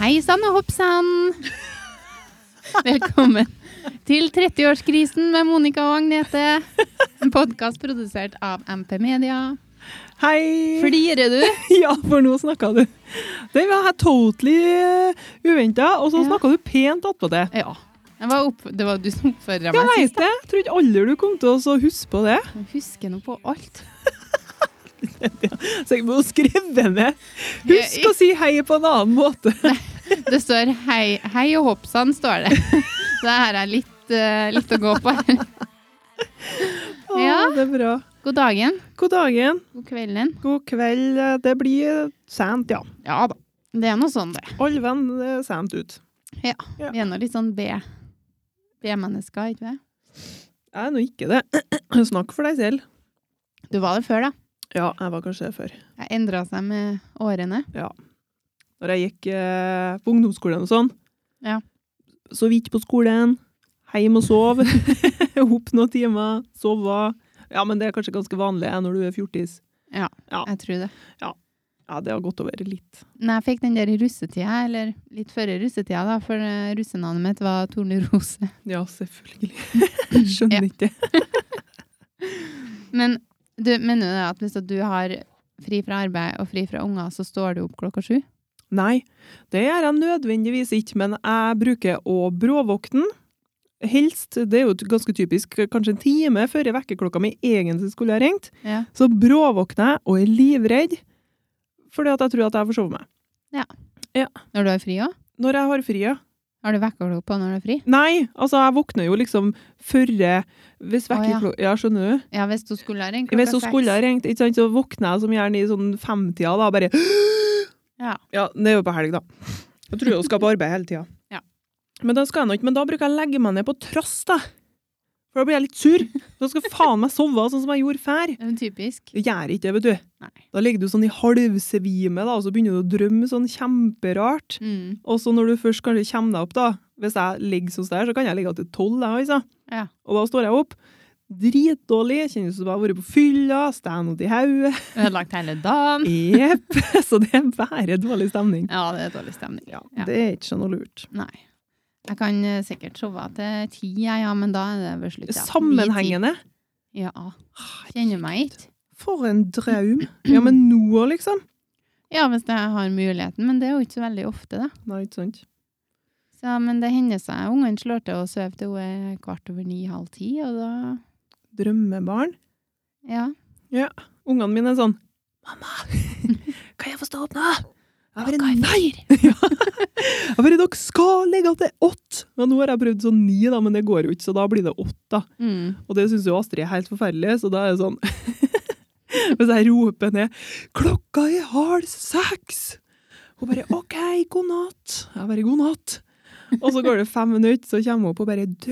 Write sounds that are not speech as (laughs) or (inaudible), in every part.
Hei sann og hopp sann! Velkommen til 30-årskrisen med Monica og Agnete. En podkast produsert av MP Media. Hei! Flirer du? (laughs) Ja, for nå snakka du. Den var her totally uventa, og så Ja. snakka du pent attpåtil. Ja. Jeg var opp, det var du som oppfordra Jeg meg veit sist. det. Jeg trodde aldri du kom til å huske på det. Jeg husker nå på alt. Så jeg må (laughs) skrive ned. Husk å si hei på en annen måte. (laughs) Det står hei, hei og hopp sann, står det. Så det her er litt, eh, litt å gå på. Å, Ja. Det er bra. God dagen. God dagen. God kvelden. God kveld. Eh, Det blir sent, ja. Ja da. Det er nå sånn, det. Alven er sent ut. Vi er nå litt sånn B. B-mennesker, ikke det? Jeg er nå ikke det. (clears throat) Snakk for deg selv. Du var det før, da. Ja, jeg var kanskje det før. Jeg endra seg med årene. Når jeg gikk eh, på ungdomsskolen og sånn. Ja. Så vidt på skolen, hjem og sov, (laughs) opp noen timer, sove. Ja, men det er kanskje ganske vanlig eh, når du er fjortis. Jeg tror det. Ja, det har gått over litt. Når jeg fikk den der i russetida, eller litt før i russetida, da, for eh, russenavnet mitt var Tornerose. (laughs) Ja, selvfølgelig. (laughs) Skjønner ikke. Men du mener jo det at hvis at du har fri fra arbeid og fri fra unger, så står du opp klokka sju? Nei, det gjør jeg nødvendigvis ikke, men jeg bruker å bråvåkne. Helst, det er jo ganske typisk, kanskje en time før jeg vekker klokka mi egentlig skulle ha ringt. Ja. Så bråvåkner jeg og er livredd, fordi at jeg tror at jeg har forsovet meg. Når du har fri òg? Når jeg har fri, ja. Har du vekkerklokke på når du har fri? Nei, altså jeg våkner jo liksom førre Hvis Å, ja. vekkerklokka ja. skjønner du? Ja, hvis du skulle ha ringt klokka Hvis hun skulle ha ringt, ikke sant, så våkner jeg som gjerne i sånn femtida, da. Bare (gasps) Ja. Ja, det er jo på helg, da. Jeg tror jeg hun skal på arbeid hele tida. (laughs) Ja. Men da skal jeg nå ikke. Men da bruker jeg å legge meg ned på trass, da. For da blir jeg litt sur. Da skal faen meg sove, sånn som jeg gjorde før. Det er jo Typisk. Det gjør ikke det, vet du. Nei. Da ligger du sånn i halvsvime, da, og så begynner du å drømme sånn kjemperart. Mm. Og så når du først kanskje kommer deg opp, da Hvis jeg ligger sånn der, så kan jeg ligge til tolv, jeg, altså. Ja. Og da står jeg opp. Dritdårlig. Kjennes som jeg har vært på fylla. Stand ut (laughs) i hodet. Ødelagt hele dagen. Jepp. Så det er bare dårlig stemning. Ja, det er dårlig stemning. Ja, Ja. Det er ikke så noe lurt. Nei. Jeg kan eh, sikkert sove til ti, ja, ja, men da er det ved slutt. ja. Sammenhengende. Ni, ti. Ja. Kjenner meg ikke. For en drøm. Ja, men nå, liksom. Ja, hvis jeg har muligheten, men det er jo ikke så veldig ofte, da. Nei, ikke sant. Så, men det hender seg. Ungene slår til å sove til hun er kvart over ni-halv ti, og da Drømmebarn. Ja. Ungene mine er sånn Mamma, (laughs) kan jeg få stå opp nå? Jeg bare, nei! Jeg bare, dere skal legge til åtte! Men nå har jeg prøvd sånn ni, da, men det går jo ikke, så da blir det åtte. da. Mm. Og det syns jo Astrid er helt forferdelig, så da er det sånn (laughs) Hvis jeg roper ned 'Klokka er halv seks!' Hun bare 'OK, god natt'. Jeg bare 'God natt'. Og så går det fem minutter, så kommer hun opp og bare 'Du,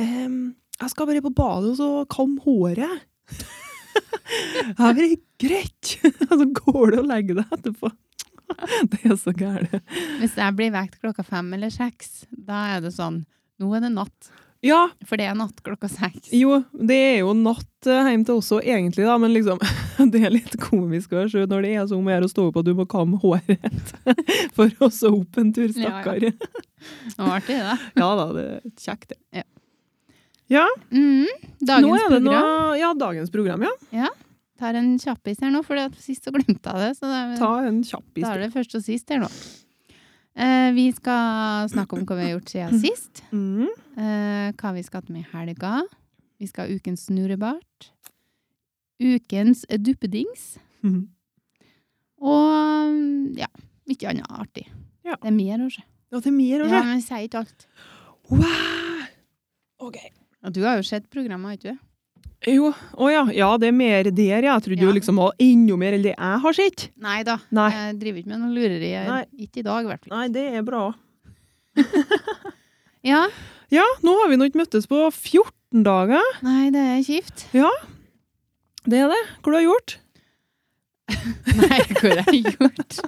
em, jeg skal bare på badet og så kamme håret'. Jeg bare 'Greit'. Og så går du og legger deg etterpå. Det er så gærent. Hvis jeg blir vekt klokka fem eller seks, da er det sånn Nå er det natt. Ja, For det er natt klokka seks. Jo, det er jo natt eh, hjem til oss også, egentlig, da, men liksom, (laughs) det er litt komisk å se når det er som er å stå opp og du må kamme håret (laughs) for å så opp en tur, Ja, ja. stakkar. (laughs) Ja, Det var artig, det. da, det er kjekt, det. Mm. Nå Dagens er det program. Noe, ja, dagens program, ja. Tar en kjappis her nå, for sist så glemte jeg det. Så det er, Ta en kjapp da er historie. det først og sist her nå. Eh, vi skal snakke om hva vi har gjort (clears throat) siden sist. Mm. Eh, hva vi skal til med i helga. Vi skal ha ukens snurrebart. Ukens duppedings. Mhm. Og mm, ja, mye annet artig. Ja. Det er mer å se. Ja, det er mer å Ja, se. men vi sier ikke alt. Wow! Ok. Og du har jo sett programmet, har ikke du? Jo, å ja. ja, det er mer der, ja. Jeg Ja. trodde jo liksom det var enda mer enn det jeg har sett. Nei da. Nei. Jeg driver ikke med noe lureri. Jeg- Nei. Ikke i dag, i hvert fall. Nei, det er bra. Ja. Ja, nå har vi nå ikke møttes på 14 dager. Nei, det er kjipt. Det er det. Hva du har gjort? (laughs) Nei, hva har jeg gjort?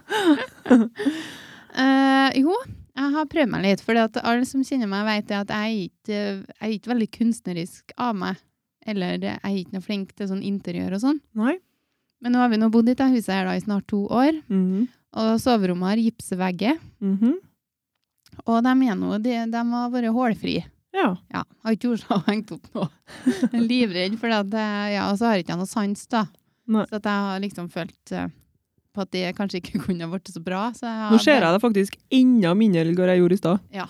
Eh, jo, jeg har prøvd meg litt. For alle som kjenner meg, vet det at jeg er ikke jeg er ikke veldig kunstnerisk av meg. Eller jeg er ikke noe flink til sånn interiør og sånn. Nei. Men nå har vi nå bodd i dette huset her da i snart to år. Mhm. Og soverommet har gipsvegger. Mhm. Og de er nå, de, de har vært hålfrie. Ja. Ja, har ikke gjort seg (laughs) hengt opp nå. Jeg er Livredd, for at, eh, ja, og så har jeg ikke noe sans, da. Nei. Så at jeg har liksom følt eh, på at det kanskje ikke (laughs) kunne ha blitt så bra. Så jeg har Nå ser jeg deg faktisk enda mindre enn hva jeg gjorde i stad.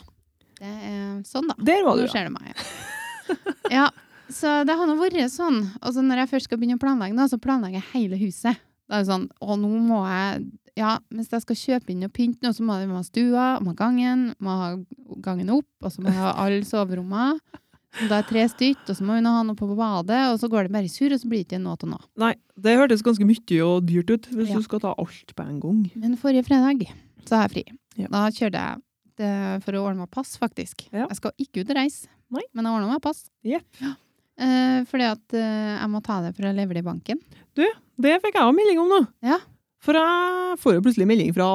Det er sånn, da. Der var du, Nå ja. ser du meg, ja. (laughs) ja. Så det har nå vært sånn. Og så når jeg først skal begynne å planlegge, da, så planlegger jeg hele huset. Da er det sånn, å nå må jeg ja, Hvis jeg skal kjøpe inn og pynte noe, så må jeg må ha stua, må ha gangen, må ha gangen opp, og så må jeg ha alle soverommene. Så Da er tre stykker, og så må hun ha noe på badet, og så går det bare i surr, og så blir det ikke noe til noe. Nei, det hørtes ganske mye og dyrt ut hvis Ja. du skal ta alt på en gang. Men forrige fredag så har jeg fri. Ja. Da kjørte jeg det for å ordne meg pass, faktisk. Ja. Jeg skal ikke ut og reise, Nei. men jeg ordna meg pass. Jepp. Ja. Eh, fordi at eh, jeg må ta det for å levere det i banken. Det fikk jeg også melding om nå. Ja. For jeg får jo plutselig melding fra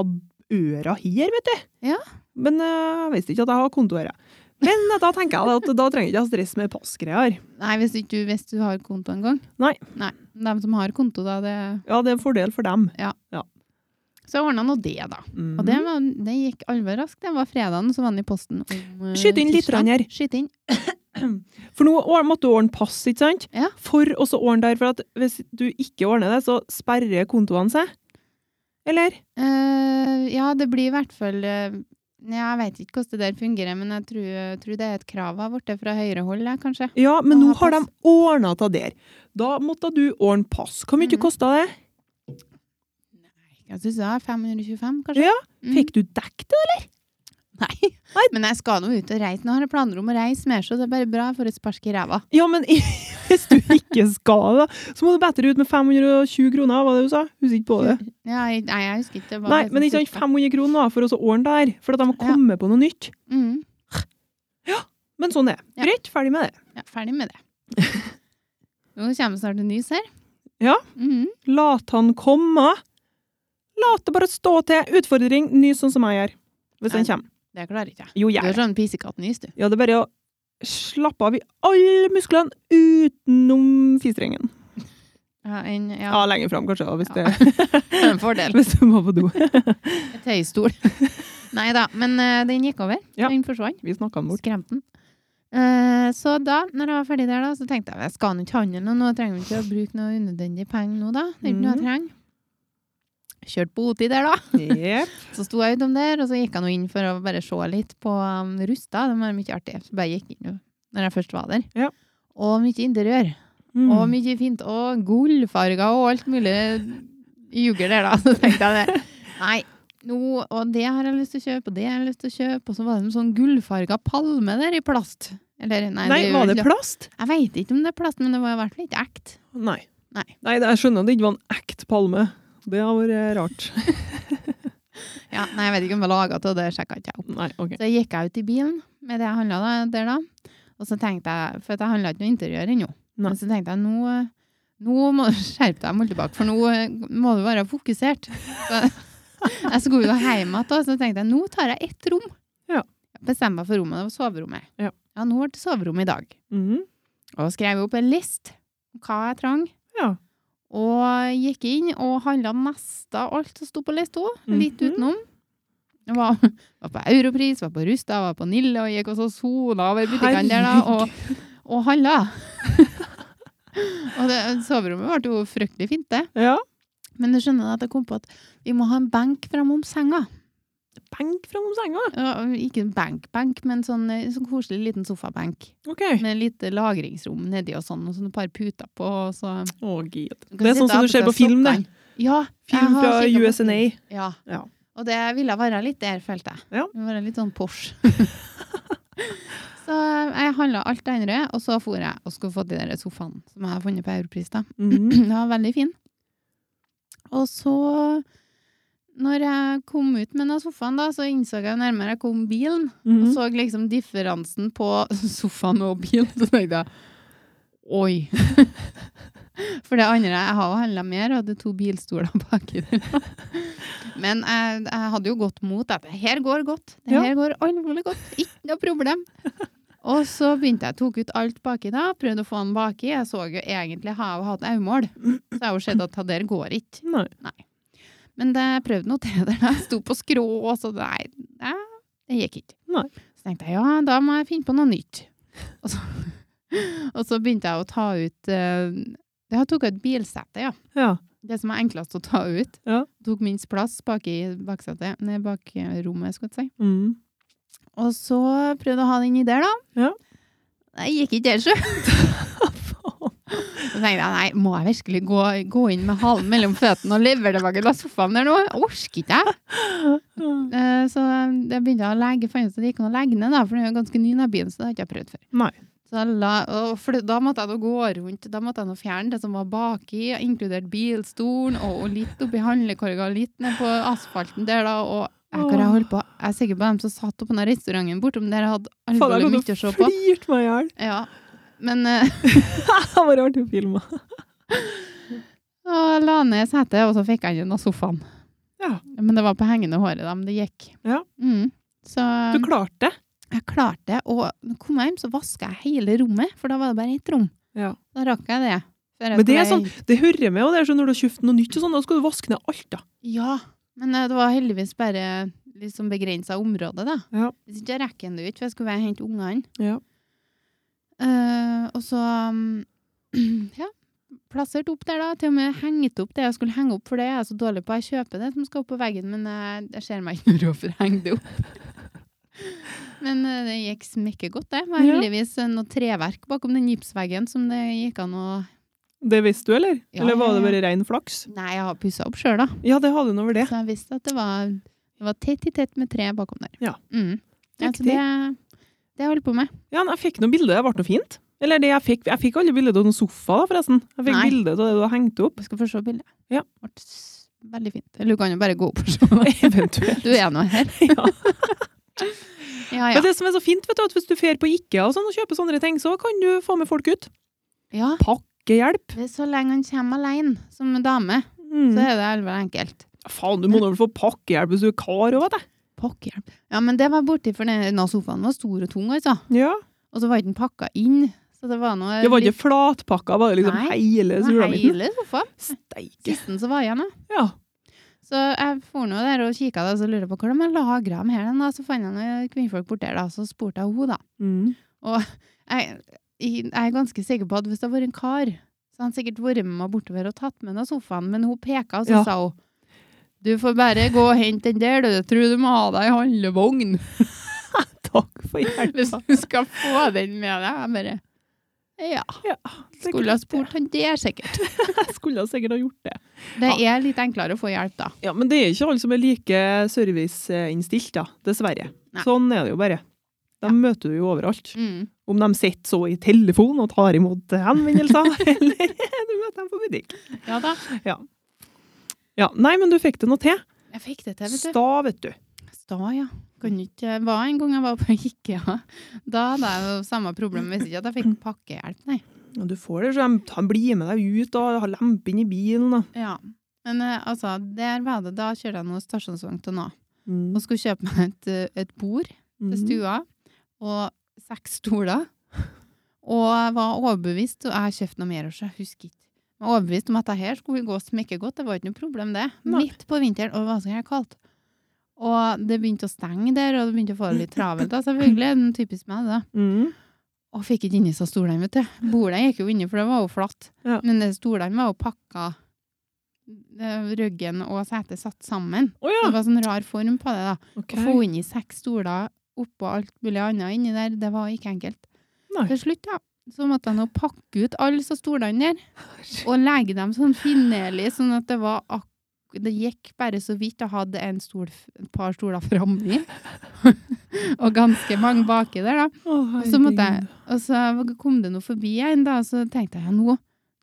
øra her, vet du. Ja. Men eh, jeg visste ikke at jeg har konto her. jeg. Men eh, da tenker jeg at da trenger jeg ikke ha stress med passgreier. Nei, hvis ikke du, hvis du har konto en gang. Nei. Nei. De som har konto, da, det Ja, det er en fordel for dem. Så jeg ordna nå det, da. Mhm. Og det, var, det gikk alvor raskt. Det var fredagen, så var den i posten om eh, Skyt inn litt tirsdag. her. Skyt inn. For nå or- måtte du ordne pass, ikke sant? Ja. For å så ordne der, for at hvis du ikke ordner det, så sperrer kontoene seg. Eller? Eh, ja, det blir i hvert fall eh, ja, Jeg vet ikke hvordan det der fungerer, men jeg tror, tror det er et krav av borte fra høyre hold, jeg, kanskje. Ja, Å men nå ha har de pass. ordna ta der. Da måtte du ordne pass. Hvor mye Mhm. kosta det? Jeg syns det er 525, kanskje. Ja, Mm. Fikk du dekket det? Nei. Men jeg skal nå ut og reise. Nå har jeg planer om å reise mer, så det er bare bra for et spark i ræva. Ja, men (laughs) hvis du ikke skal det, da, så må du bedre ut med 520 kroner, var det du sa? Husker ikke på det. Ja, jeg- nei, jeg husker ikke. det var Nei, bare men ikke sånn sant, 500 kroner da, for å så ordne det her, for at de må Ja. komme på noe nytt. cirka. Mm. Men sånn er det. Ja. Greit, ferdig med det. Ja, ferdig med (laughs) det. Nå kommer snart en nys her. Ja. Mhm. Lat han komme. Lat det bare stå til. Utfordring, ny sånn som jeg gjør. Hvis den Nei. kommer. Det klarer ikke jeg. Jo, Du jeg. er sånn pissekattnys, du. Ja, det er bare å slappe av i alle musklene utenom fistrengen. Ja, en, Ja, ja, lenger fram kanskje, da, hvis, Ja. det, (laughs) en fordel. hvis du må på do. (laughs) Tøystol. Nei da, men eh, den gikk over. Ja. Den forsvant. Vi snakket den bort. Skremte den. Eh, så da, når jeg var ferdig der, da, så tenkte jeg jeg skal nå ikke handle nå. Nå trenger vi ikke å bruke noe unødvendig penger nå, da. Det er ikke noe jeg trenger. Kjørte på OT der, da. Jep. Så sto jeg utom der, og så gikk jeg nå inn for å bare se litt på um, Rusta. Det var mye artig. Så bare gikk inn jo, når jeg først var der. Ja. Og mye interiør. Og Mm. mye fint. Og gullfarger og alt mulig jugger der, da. (laughs) Så tenkte jeg det. Nei, nå, og det har jeg lyst til å kjøpe, og det har jeg lyst til å kjøpe. Og så var det en sånn gullfarga palme der i plast. Eller, nei, Nei, er jo var det ikke- plast? Jeg veit ikke om det er plast, men det var i hvert fall ikke ekte. Nei. Nei. Nei, det- jeg skjønner at det ikke var en ekte palme. Det har vært eh, rart. Ja, nei, jeg vet ikke om det var laga av det, sjekka ikke jeg opp. Nei, ok. Så gikk jeg ut i bilen med det jeg handla da- der da. Og så tenkte jeg, for at jeg handla ikke noe interiør ennå. Nei. Men så tenkte jeg, nå, nå må (laughs) du skjerpe deg Moltebakk, for nå eh, må du være fokusert. Så, (laughs) jeg skulle jo hjem igjen, da, så tenkte jeg, nå tar jeg ett rom. Ja. Jeg bestemte meg for rommet, det var soverommet. Ja. nå ble det soverom i dag. Mhm. Og skrev opp en list om hva jeg trang. Ja. Og gikk inn og handla nesten alt som sto på lista, litt Mhm. utenom. Jeg var, var på Europris, var på Rusta, var på Nille og gikk også sona over butikkene der, da. Og, og handla. (laughs) og det, soverommet ble jo fryktelig fint, det. Ja. Men du skjønner at jeg kom på at vi må ha en benk framom senga. Benk framom senga. Ja, Ikke en benk-benk, men sånn, eh, sånn koselig liten sofabenk. Ok. Med lite lagringsrom nedi og sånn, og sånn et par puter på. Og så Å, gid. Du kan Det er sånn sitte som du attpå ser på seg film, det. sokkene. Ja, jeg Film har fra kikket på film. USNA. Ja. Ja. Og det ville være litt der, følte jeg. Ja. Det ville Være litt sånn Porsche. (laughs) så eh, jeg handla alt det andre, og så for jeg og skulle få de der sofaene som jeg har funnet på Europris. da. (clears throat) Mhm. Den var veldig fin. Og så, når jeg kom ut med den sofaen, da, så innså jeg jo nærmere jeg kom bilen, og Mhm. så liksom differansen på (laughs) sofaen og bilen. Så tenkte jeg oi. (laughs) For det andre, jeg har jo handla mer, og hadde to bilstoler (laughs) baki der. Men jeg, jeg hadde jo godt mot at det her går godt. Det Ja. her går alvorlig godt. Ikke noe problem. Og så begynte jeg, tok ut alt baki da, prøvde å få den baki. Jeg så jo egentlig, har jeg jo hatt øyemål, så jeg har jo sett at det der går ikke. Nei. Men det jeg prøvde noe til (laughs) der. Jeg sto på skrå, og så nei, nei, det gikk ikke. Nei. Så tenkte jeg ja, da må jeg finne på noe nytt. Og så, (laughs) og så begynte jeg å ta ut eh, Jeg tok ut bilsettet, ja. Ja. Det som er enklest å ta ut. Ja. Tok minst plass bak i baksetet, nei, bakrommet, skulle jeg si. Mm. Og så prøvde jeg å ha den inni der, da. Ja. Nei, gikk ikke det, sjø. (laughs) Så tenkte jeg nei, må jeg virkelig gå, gå inn med halen mellom føttene og levere tilbake til sofaen der nå? Jeg Orker ikke jeg. Eh, Så jeg begynte å legge fant ut at det gikk an å legge ned, da, for den er jo ganske ny, den bilen, så det har jeg ikke prøvd før. Nei. Så jeg la, og for da måtte jeg nå gå rundt, da måtte jeg nå fjerne det som var baki, inkludert bilstolen, og, og litt oppi handlekorga, litt ned på asfalten der, da. og jeg, hva jeg, holdt på. jeg er sikker på dem som satt oppe på den restauranten bortom der, hadde Faen, alvorlig jeg mye hadde å se på. flirt meg i hjel. (laughs) Ja. Men eh, (laughs) Det var artig å filme. Og jeg la ned setet, og så fikk jeg den av sofaen. Ja. Men det var på hengende håret, da, men det gikk. Ja. Mm. Så Du klarte det. jeg klarte det. Og når jeg kom hjem, så vaska jeg hele rommet, for da var det bare ett rom. Ja. Da rakk jeg det. før jeg Men det er skulle- sånn, det hører med, og det er sånn når du har kjøpt noe nytt og sånn, da skal du vaske ned alt, da. Ja. Men eh, det var heldigvis bare liksom begrensa område, da. Ja. Hvis ikke jeg rekker det ut, for jeg skulle være og hente ungene. Ja. Eh, og så um, (clears throat) ja, plassert opp der, da. Til og med hengt opp det jeg skulle henge opp, for det er jeg så dårlig på. Jeg kjøper det som skal opp på veggen, men jeg, jeg ser meg ikke noe råd for å henge det opp. (laughs) Men eh, det gikk smekke godt, det. Det var Ja. heldigvis eh, noe treverk bakom den gipsveggen som det gikk an å Det visste du, eller? Ja, eller var ja, det ja. bare rein flaks? Nei, jeg har pussa opp sjøl, da. Ja, det hadde hun over det. Så jeg visste at det var, det var tett i tett med tre bakom der. Ja. Mm. Ja, så Riktig. det, det holder jeg på med. Ja, men jeg fikk noen bilder, det ble noe fint. Eller det jeg fikk, jeg fikk alle bilder av noen sofa, da, forresten. Jeg fikk Nei. bilder av det du har hengt opp. (laughs) Vi skal få se bildet. Ja. Det ble s- veldig fint. Eller du kan jo bare gå opp og se. (laughs) Eventuelt. Du er nå her. Ja. ja, ja. Men det som er så fint, vet du, at hvis du fer på IKEA og sånn og kjøper sånne ting, så kan du få med folk ut. ja. Pakkehjelp. det er Så lenge han kommer alene som en dame, så Mm. er det alvor enkelt. Faen, du må nå vel få pakkehjelp hvis du er kar òg, vet du. Pakkehjelp. Ja, men det var borti, for den den sofaen var stor og tung, altså. Ja. Og så var ikke den pakka inn. Så det var noe Det var ikke flatpakka, var det liksom Nei. hele det var sulamitten? hele sofaen. Steike. Sisten som var igjen, da. Ja. Så jeg for nå der og kikka, og så lurte jeg på hvordan man lagra dem her. den da. Så fant jeg noen kvinnfolk borti der, da. Så spurte jeg henne, da. Mm. jeg, jeg er ganske sikker på at hvis det hadde vært en kar, så hadde han sikkert vært med meg bortover og tatt med meg sofaen, men hun peka, og så Ja. sa hun du får bare gå og hente den der, du. Jeg tror du må ha deg en handlevogn (laughs) Takk for hjelp. hvis du skal få den med deg. Jeg bare Ja. Skulle ha spurt han der, sikkert. (laughs) Jeg skulle sikkert ha gjort det. Det er litt enklere å få hjelp, da. Ja, Men det er ikke alle som er like serviceinnstilt, da. Dessverre. Nei. Sånn er det jo bare. De Ja. møter du jo overalt. Mm. Om de sitter så i telefon og tar imot (laughs) henvendelser, eller du møter dem på butikk. Ja da. Ja, Nei, men du fikk det nå til. Jeg fikk det til, vet du. Sta, vet du. Sta, ja. Kan ikke Var en gang jeg var på (laughs) IKEA. Da hadde jeg jo samme problem, hvis ikke at jeg fikk pakkehjelp, nei. Ja, du får det, så de tar- blir med deg ut og har lempe inn i bilen. Og. Ja. Men eh, altså, der var det, da kjørte jeg noe stasjonsvogn til nå. Mm. Og skulle kjøpe meg et, eh, et bord til Mhm. stua, og seks stoler. Og jeg var overbevist, og jeg kjøpte noe mer, så jeg husker ikke. Jeg var overbevist om at det her skulle gå smekke godt, det var ikke noe problem det. Nei. Midt på vinteren, og det var så her kaldt. Og det begynte å stenge der, og det begynte å få det litt travelt, da, selvfølgelig. Den typisk meg, da. Mm. Og fikk ikke inni seg stolene, vet du. Bordet gikk jo inni, for det var jo flatt. Ja. Men det stolene var jo pakka eh, Ryggen og setet satt sammen. Å Det ja. var sånn rar form på det. da. Ok. Å få inni seks stoler oppå alt mulig annet inni der, det var ikke enkelt. Nei. Til slutt, ja, så måtte jeg nå pakke ut alle så stolene der, og legge dem sånn finnerlig, sånn at det var ak det gikk bare så vidt jeg hadde en stol, et par stoler framme i, (laughs) og ganske mange baki der, da. Å, Og så måtte jeg, herregud. og så kom det noe forbi en da, og så tenkte jeg, ja, nå,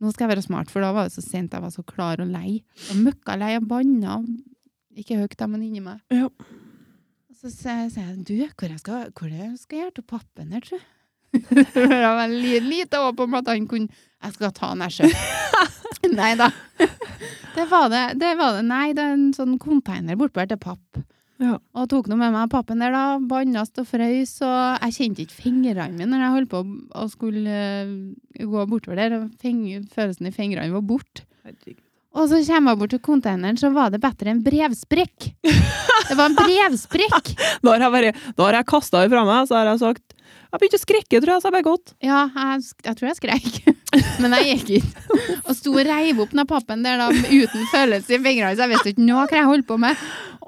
nå skal jeg være smart, for da var det så sent, jeg var så klar og lei. Og møkka lei og banna, ikke høyt da, men inni meg. Ja. Og så sier jeg- sier jeg, du, hvor jeg skal, hvor jeg skal gjøre til pappen her, tror jeg? (laughs) For jeg var li- lite håp om at han kunne, jeg skal ta han her selv. Nei da. Det var det, det var det, nei, det er en sånn container bortpå her til papp. Ja. Og tok nå med meg pappen der, da. Bannast og frøys. Og jeg kjente ikke fingrene mine når jeg holdt på å- å skulle eh, gå bortover der. og fing- Følelsen i fingrene var borte. Herregud. Og så kommer jeg bort til containeren, så var det bedre enn brevsprekk. Det var en brevsprekk! Da har jeg bare, da har jeg kasta det fra meg, så har jeg sagt Jeg begynte å skrekke, tror jeg, så jeg bare gått. Ja, jeg, sk- jeg tror jeg skreik. (laughs) Men jeg gikk ikke. Og sto og reiv opp den pappen der da, uten følelse i fingrene, så jeg visste ikke noe hva jeg holdt på med.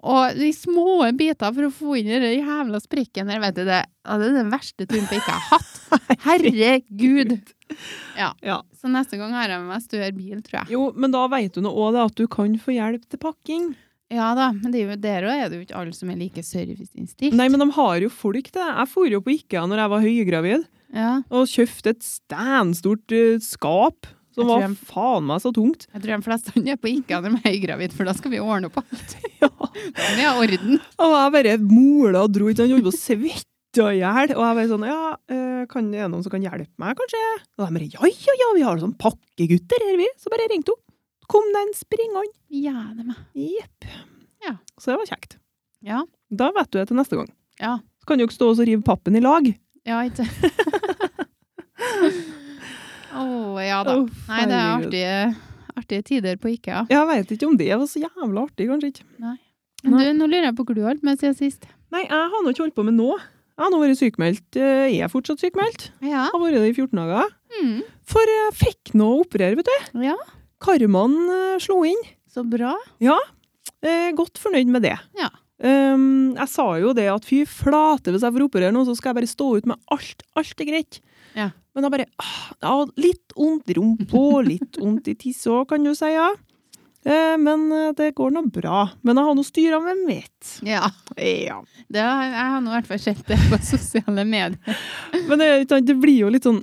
Og de små biter for å få inn den jævla sprekken der, vet du det. Ja, det er den verste turen på ikke jeg har (laughs) hatt. Herregud! Ja. Så neste gang har jeg med meg større bil, tror jeg. Jo, men da veit du nå òg at du kan få hjelp til pakking. Ja da, men det er jo der òg er det jo ikke alle som er like serviceinnstilt. Nei, men de har jo folk til det. Jeg for jo på Ikea når jeg var høygravid, Ja, og kjøpte et steinstort eh, skap Jeg som tror var jeg- faen meg så tungt. jeg tror de fleste er på ikke når de er gravid, for da skal vi ordne opp (laughs) alt. Da må vi ha orden. Og jeg bare mola og dro ut, han holdt på å svette i hjel. Og jeg bare sånn Ja, eh, kan det er noen som kan hjelpe meg, kanskje? Og de bare Ja, ja, ja, vi har sånn pakkegutter her, vi. Så bare ringte hun. Kom den springende. Ja, det må. Jepp. Ja. Så det var kjekt. Ja. Da vet du det til neste gang. Ja. Så kan dere stå og så rive pappen i lag. Ja, (laughs) ikke Å, ja da. Å, Nei, det er herregud. artige, artige tider på IKEA. Jeg veit ikke om det var så jævla artig, kanskje ikke. Men Nei. du, nå lurer jeg på hvor du holdt med siden sist. Nei, jeg har nå ikke holdt på med nå. Jeg har nå vært sykmeldt. eh, Jeg er fortsatt sykmeldt. Ja. Jeg har vært det i 14 dager. Mm. For jeg fikk nå operere, vet du. ja. Karmaen eh, slo inn. Så bra. Eh, godt fornøyd med det. Ja. Ehm, jeg sa jo det at fy flate, hvis jeg får operere nå, så skal jeg bare stå ut med alt. Alt er greit. Ja. Men da bare ah, ja, Litt vondt i rumpa, (laughs) litt vondt i tisse òg, kan du si, ja. Eh, men eh, det går nå bra. Men jeg har nå styra med mitt. Ja. Ja. Det har, jeg har nå i hvert fall sett det på (laughs) sosiale medier. Men det, ikke sant, det blir jo litt sånn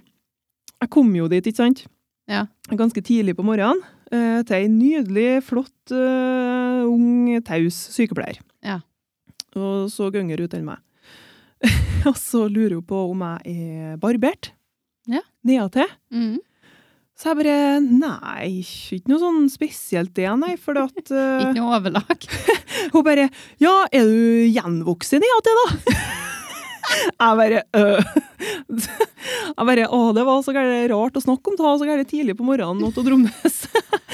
Jeg kom jo dit, ikke sant? Ja. Ganske tidlig på morgenen. eh, til ei nydelig, flott, eh, ung, taus sykepleier. Ja. Og så ganger hun til meg. (laughs) og så lurer hun på om jeg er barbert. Ja. Nedatil. Mm. Så jeg bare Nei, ikke noe sånn spesielt det, nei. For at (laughs) eh, Ikke noe overlag. (laughs) hun bare Ja, er du gjenvokst i det, da? (laughs) Jeg bare øh. (laughs) Jeg bare Å, det var så gærent rart å snakke om det, så gærent tidlig på morgenen, Otto Dromnes.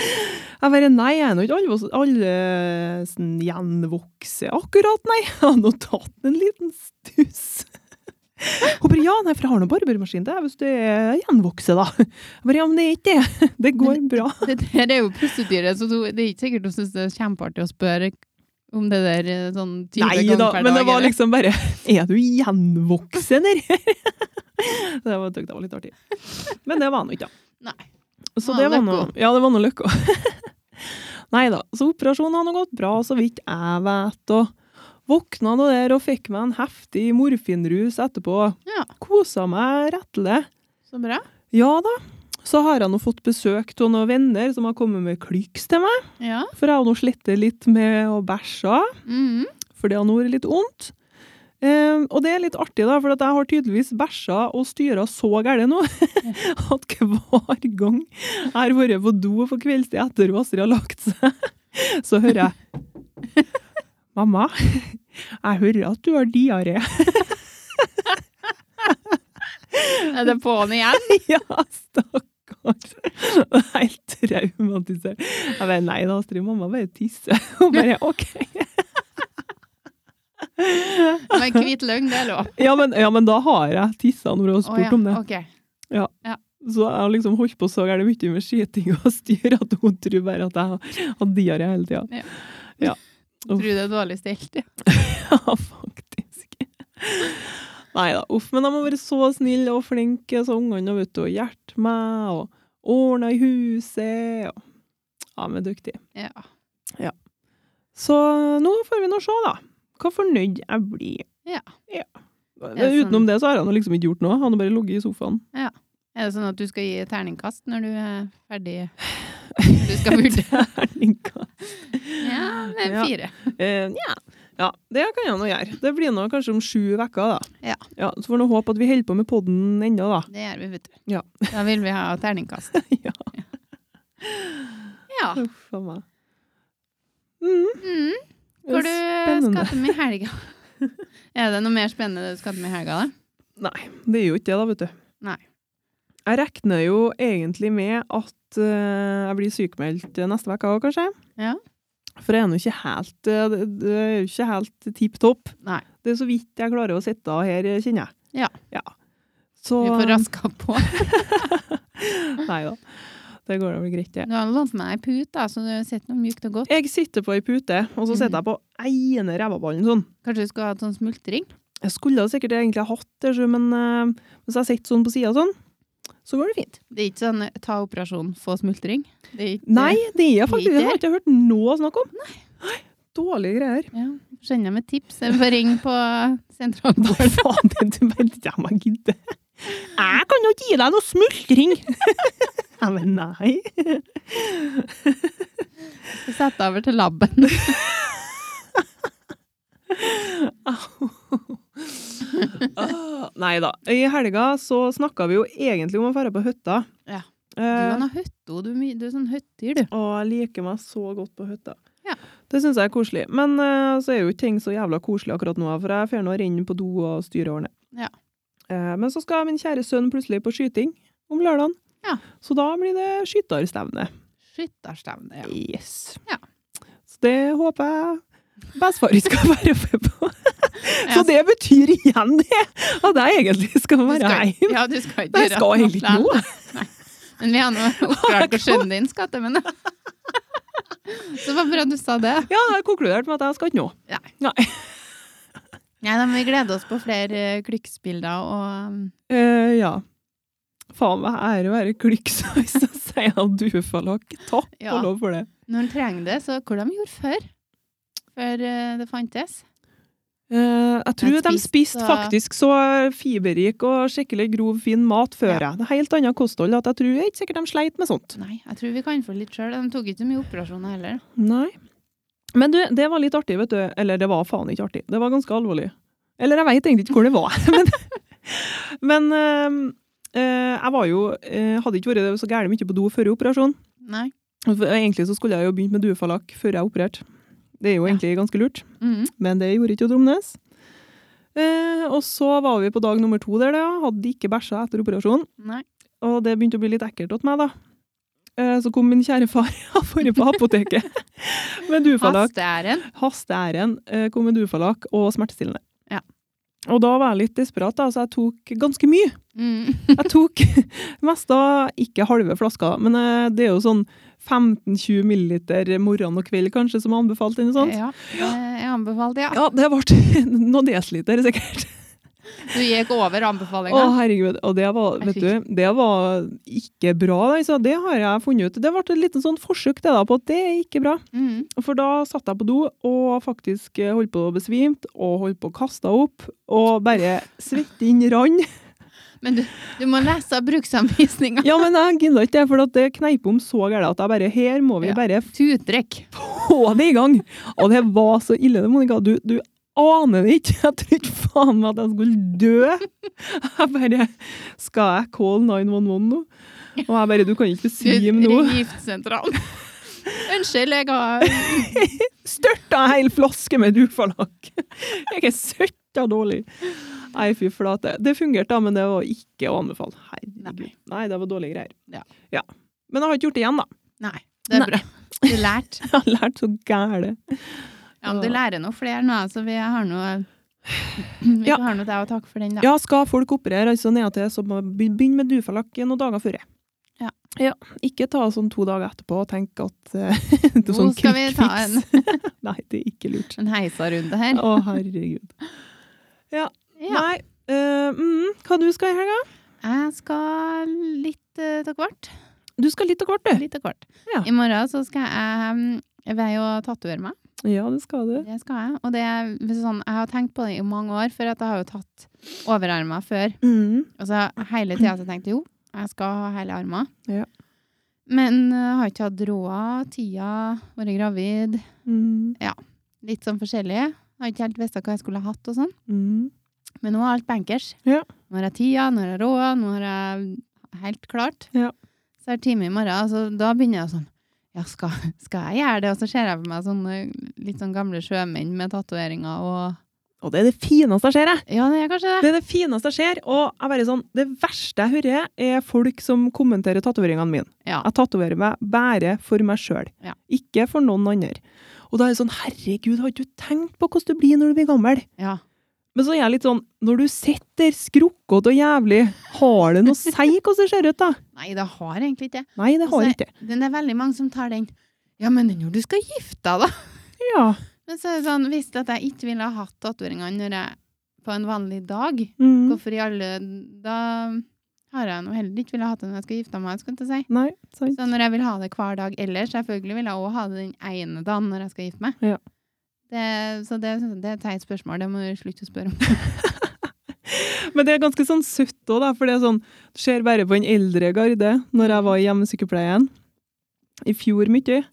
(laughs) Jeg bare Nei, jeg er nå ikke alvor- allesen gjenvokse akkurat, nei. Jeg har nå tatt en liten stuss. (laughs) Hun bare Ja, nei, for jeg har nå barbermaskin til, hvis du er gjenvokse, da. Jeg bare Ja, men det er ikke det. Det går bra. Det der er jo prosedyre, så du- det er ikke sikkert hun syns det er kjempeartig å spørre om det der eh, sånn type Nei gang da, per men det dag, var eller? liksom bare (laughs) Er du gjenvoksen, eller? (laughs) Så jeg var- tenkte det var litt artig. Men det var han jo ikke, da. Nei. Ah, Så Var det var han noe, ja, det var noe løkka. (laughs) Nei da. Så operasjonen har nå gått bra, så vidt jeg vet. Og våkna nå der og fikk meg en heftig morfinrus etterpå. Ja. Kosa meg rettelig. Så bra. Ja da. Så har jeg nå fått besøk av noen venner som har kommet med klyks til meg. Ja. For jeg har nå slitt litt med å bæsje. Mm. for det har nå vært litt vondt. Eh, og det er litt artig, da, for at jeg har tydeligvis bæsja og styra så gærent nå (laughs) at hver gang jeg har vært på do på kveldstid etter at Astrid har lagt seg, (laughs) så hører jeg Mamma, jeg hører at du har diaré. (laughs) Er det på'n igjen? ja, stakkars. Jeg er Helt traumatisert. Jeg bare nei da, Astrid, mamma bare tisser. (laughs) Hun bare OK. Men hvit løgn, det er lov. Ja, men, ja, men da har jeg tissa når hun har Å spurt ja, om det. ok. Så jeg har liksom holdt på så gærent mye med skiting og styr at hun tror bare at jeg har- har diaré hele tida. Ja. Ja. Tror du det er dårlig stelt? Ja. Ja, faktisk. Nei da, uff. Men de har vært så snille og flinke, så ungene har vært og hjulpet meg og ordna i huset. Og... Ja, de er dyktige. Ja. Så nå får vi nå se, da. Hva fornøyd jeg blir. Ja. Men Ja, sånn. Utenom det så har jeg nå liksom ikke gjort noe. Jeg har nå bare ligget i sofaen. (laughs) Er det sånn at du skal gi terningkast når du er (sighs) ferdig? Når du skal vurdere? Terningkast. Ja, det er (laughs) Ja. fire. Eh, ja. ja, det kan jeg nå gjøre. Det blir nå kanskje om sju uker, da. Ja. så får vi nå håpe at vi holder på med podden ennå, da. Det gjør vi, vet du. Ja. Da vil vi ha terningkast. (laughs) Ja. Ja. Uff a meg. Mm, Mm. Hvor du spennende. skal til med i helga? (laughs) Er det noe mer spennende du skal til med i helga, da? Nei, det er jo ikke det, da, vet du. Nei. Jeg regner jo egentlig med at eh, jeg blir sykemeldt neste uke òg, kanskje. Ja. For jeg er nå ikke helt eh, det- det er jo ikke helt tipp topp. Nei. Det er så vidt jeg klarer å sitte her, eh, kjenner jeg. Ja. Så Vi får raska på. (laughs) Nei da. Det går da vel greit, det. Du har lånt meg ei pute, da, så du sitter noe mykt og godt. Jeg sitter på ei pute, og så sitter jeg på ene rævaballen sånn. Kanskje du skulle hatt sånn smultring? Jeg skulle jo sikkert egentlig ha hatt det, sjø, men eh, hvis jeg sitter sånn på sida sånn, så går det fint. Det er ikke sånn eh, ta operasjon, få smultring? Det er ikke, Nei, det er jeg faktisk. Det har Peter? jeg ikke hørt noe snakk om. Nei. Dårlige greier. Ja, Skjønner jeg med tips. Jeg får ringe på sentralen. (laughs) Hva faen er det du mente jeg meg gidde? Jeg kan jo ikke gi deg noe smultring! (laughs) Ja, men nei. Sett over til laben. (laughs) Ah, Nei da. I helga så snakka vi jo egentlig om å dra på hytta. Ja. Du Eh, kan ha høtto. Du, er my- du er sånn høttyr, du. Å, jeg liker meg så godt på hytta. Ja. Det syns jeg er koselig. Men eh, så er jo ikke ting så jævla koselig akkurat nå, for jeg får nå renne på do og styre og ordne. Ja. Eh, men så skal min kjære sønn plutselig på skyting om lørdagen. Ja. Så da blir det skytterstevne. Skytterstevne, ja. Yes. Ja. Så det håper jeg bestefar skal være med (laughs) på. Ja. Så det betyr igjen det, at jeg egentlig skal Du være skal- hjemme. Ja, du skal ikke Jeg skal egentlig ikke noe. Men vi har (laughs) nå oppklart hvor sønnen din skal til, men (laughs) Så det var bra du sa det. Ja, jeg har konkludert med at jeg skal ikke nå. Nei, da, men vi gleder oss på flere eh, klikkbilder og um, Eh, ja. Faen meg ære å være klykksa hvis jeg sier at duefalakk. Takk Ja. og lov for det. Når en trenger det, så Hvor de gjorde før? Før eh, det fantes? Eh, jeg Men tror de spist, spiste og- faktisk så fiberrik og skikkelig grov, fin mat før Ja. jeg. Det er helt annet kosthold. at Jeg tror jeg er ikke sikkert de sleit med sånt. Nei, jeg tror vi kan få litt sjøl. De tok ikke så mye operasjoner heller. Nei. Men du, det var litt artig, vet du. Eller det var faen ikke artig. Det var ganske alvorlig. Eller jeg veit egentlig ikke hvor det var. (laughs) Men, men eh, eh, jeg var jo eh, Hadde ikke vært så gæren mye på do før operasjonen. Nei. For Egentlig så skulle jeg jo begynt med duefalakk før jeg opererte. Det er jo Ja. egentlig ganske lurt, Mhm. men det gjorde ikke Dromnes. Eh, og så var vi på dag nummer to der, da. Hadde ikke bæsja etter operasjonen. Nei. Og det begynte å bli litt ekkelt åt meg, da. Eh, så kom min kjære far (laughs) og forrige på apoteket (laughs) med duefalakk. Hasteæren. Hasteæren eh, kom med duefalakk og smertestillende. Ja. Og da var jeg litt desperat, da, så jeg tok ganske mye. Mm. Jeg tok (laughs) mest av ikke halve flaska, men eh, det er jo sånn 15-20 milliliter morgen og kveld kanskje som er anbefalt. Eller noe sånt. Ja, eh, jeg anbefalte, ja. Sånn. Ja, det ble (laughs) noen desiliter sikkert. Du gikk over Å, anbefalinga. herregud. Og det var, vet du, det var ikke bra. Altså. Det har jeg funnet ut. Det ble et lite sånn forsøk det da, på at det er ikke bra. Mm. For da satt jeg på do og faktisk eh, holdt på å besvimte og holdt på å kaste opp. Og bare svetten rann. Men du, du må lese bruksanvisninga. (laughs) Ja, men jeg gidda ikke det, for at det kneip om så gærent at jeg bare Her må vi Ja. bare Tutrekk. få det i gang. Og det var så ille, det, Monica. Du, du aner det ikke. Jeg trodde faen meg at jeg skulle dø. Jeg bare Skal jeg call 911 nå? Og jeg bare Du kan ikke Du, besvime nå. ring giftsentralen. Unnskyld, jeg har Størta en hel flaske med dufalakk. Jeg er søtta dårlig. Nei, fy flate. Det fungerte, da, men det var ikke å anbefale. Herregud. Nei. Nei, det var dårlige greier. Ja. ja. Men jeg har ikke gjort det igjen, da. Nei, det er Nei. bra. Du lærte. Jeg har lært så gæle. Ja, men du lærer noe flere nå, så vi har noe Vi Ja. har noe deg å takke for den, da. Ja, skal folk operere altså nedentil, så må be- begynn med dufalakk noen dager før. Ja. Ikke ta sånn to dager etterpå og tenk at eh, (laughs) det er Nå sånn skal vi ta en, kvikkfiks. (laughs) Nei, det er ikke lurt. en heisarunde her. Å, herregud. Ja. Nei, eh, mm, hva du skal i helga? Jeg skal litt uh, av hvert. Du skal litt og kvart, du. Litt av hvert. Ja. I morgen så skal jeg um, Jeg vil jo tatovere meg. Ja, det skal du. Det skal jeg. Og det er hvis sånn, jeg har tenkt på det i mange år, for at jeg har jo tatt overarmer før. Mm. Og så hele tida har jeg tenkt jo, jeg skal ha hele armen. Ja. Men eh, jeg har ikke hatt råd, tida, vært gravid. Mm. Litt sånn forskjellig. Jeg har ikke helt visst hva jeg skulle ha hatt og sånn. Mm. Men nå er alt bankers. Ja. Nå har jeg tida, nå har jeg råd, nå har jeg helt klart. Ja. Så er det time i morgen, altså, da begynner jeg sånn ja, skal, skal jeg gjøre det? Og så ser jeg for meg sånne litt sånn gamle sjømenn med tatoveringer og Og det er det fineste jeg ser, jeg! Ja, det er kanskje det. Det er det fineste jeg ser, og jeg bare sånn, det verste jeg hører, er folk som kommenterer tatoveringene mine. Ja. Jeg tatoverer meg bare for meg sjøl, Ja. ikke for noen andre. Og da er det sånn, herregud, har ikke du tenkt på hvordan du blir når du blir gammel? Ja. Men så er jeg litt sånn, når du sitter skrukkete og jævlig, har det noe å si hvordan det ser ut da? Nei, det har egentlig ikke det. Nei, det har Altså, ikke. Men Det er veldig mange som tar den. Ja, men når du skal gifte deg, da? Ja. Men så er det sånn, hvis at jeg ikke ville ha hatt tatoveringene når jeg på en vanlig dag, Mm. hvorfor i alle Da har jeg nå heller ikke ville hatt det når jeg skal gifte meg, skulle jeg til å si. Nei, sant. Så når jeg vil ha det hver dag ellers, selvfølgelig vil jeg òg ha det den ene dagen når jeg skal gifte meg. Ja. Det, så det, det er et teit spørsmål, det må du slutte å spørre om. Men det er ganske sånn søtt òg, da. For det er sånn Du ser bare på den eldre garde. Når jeg var i hjemmesykepleien i fjor mye,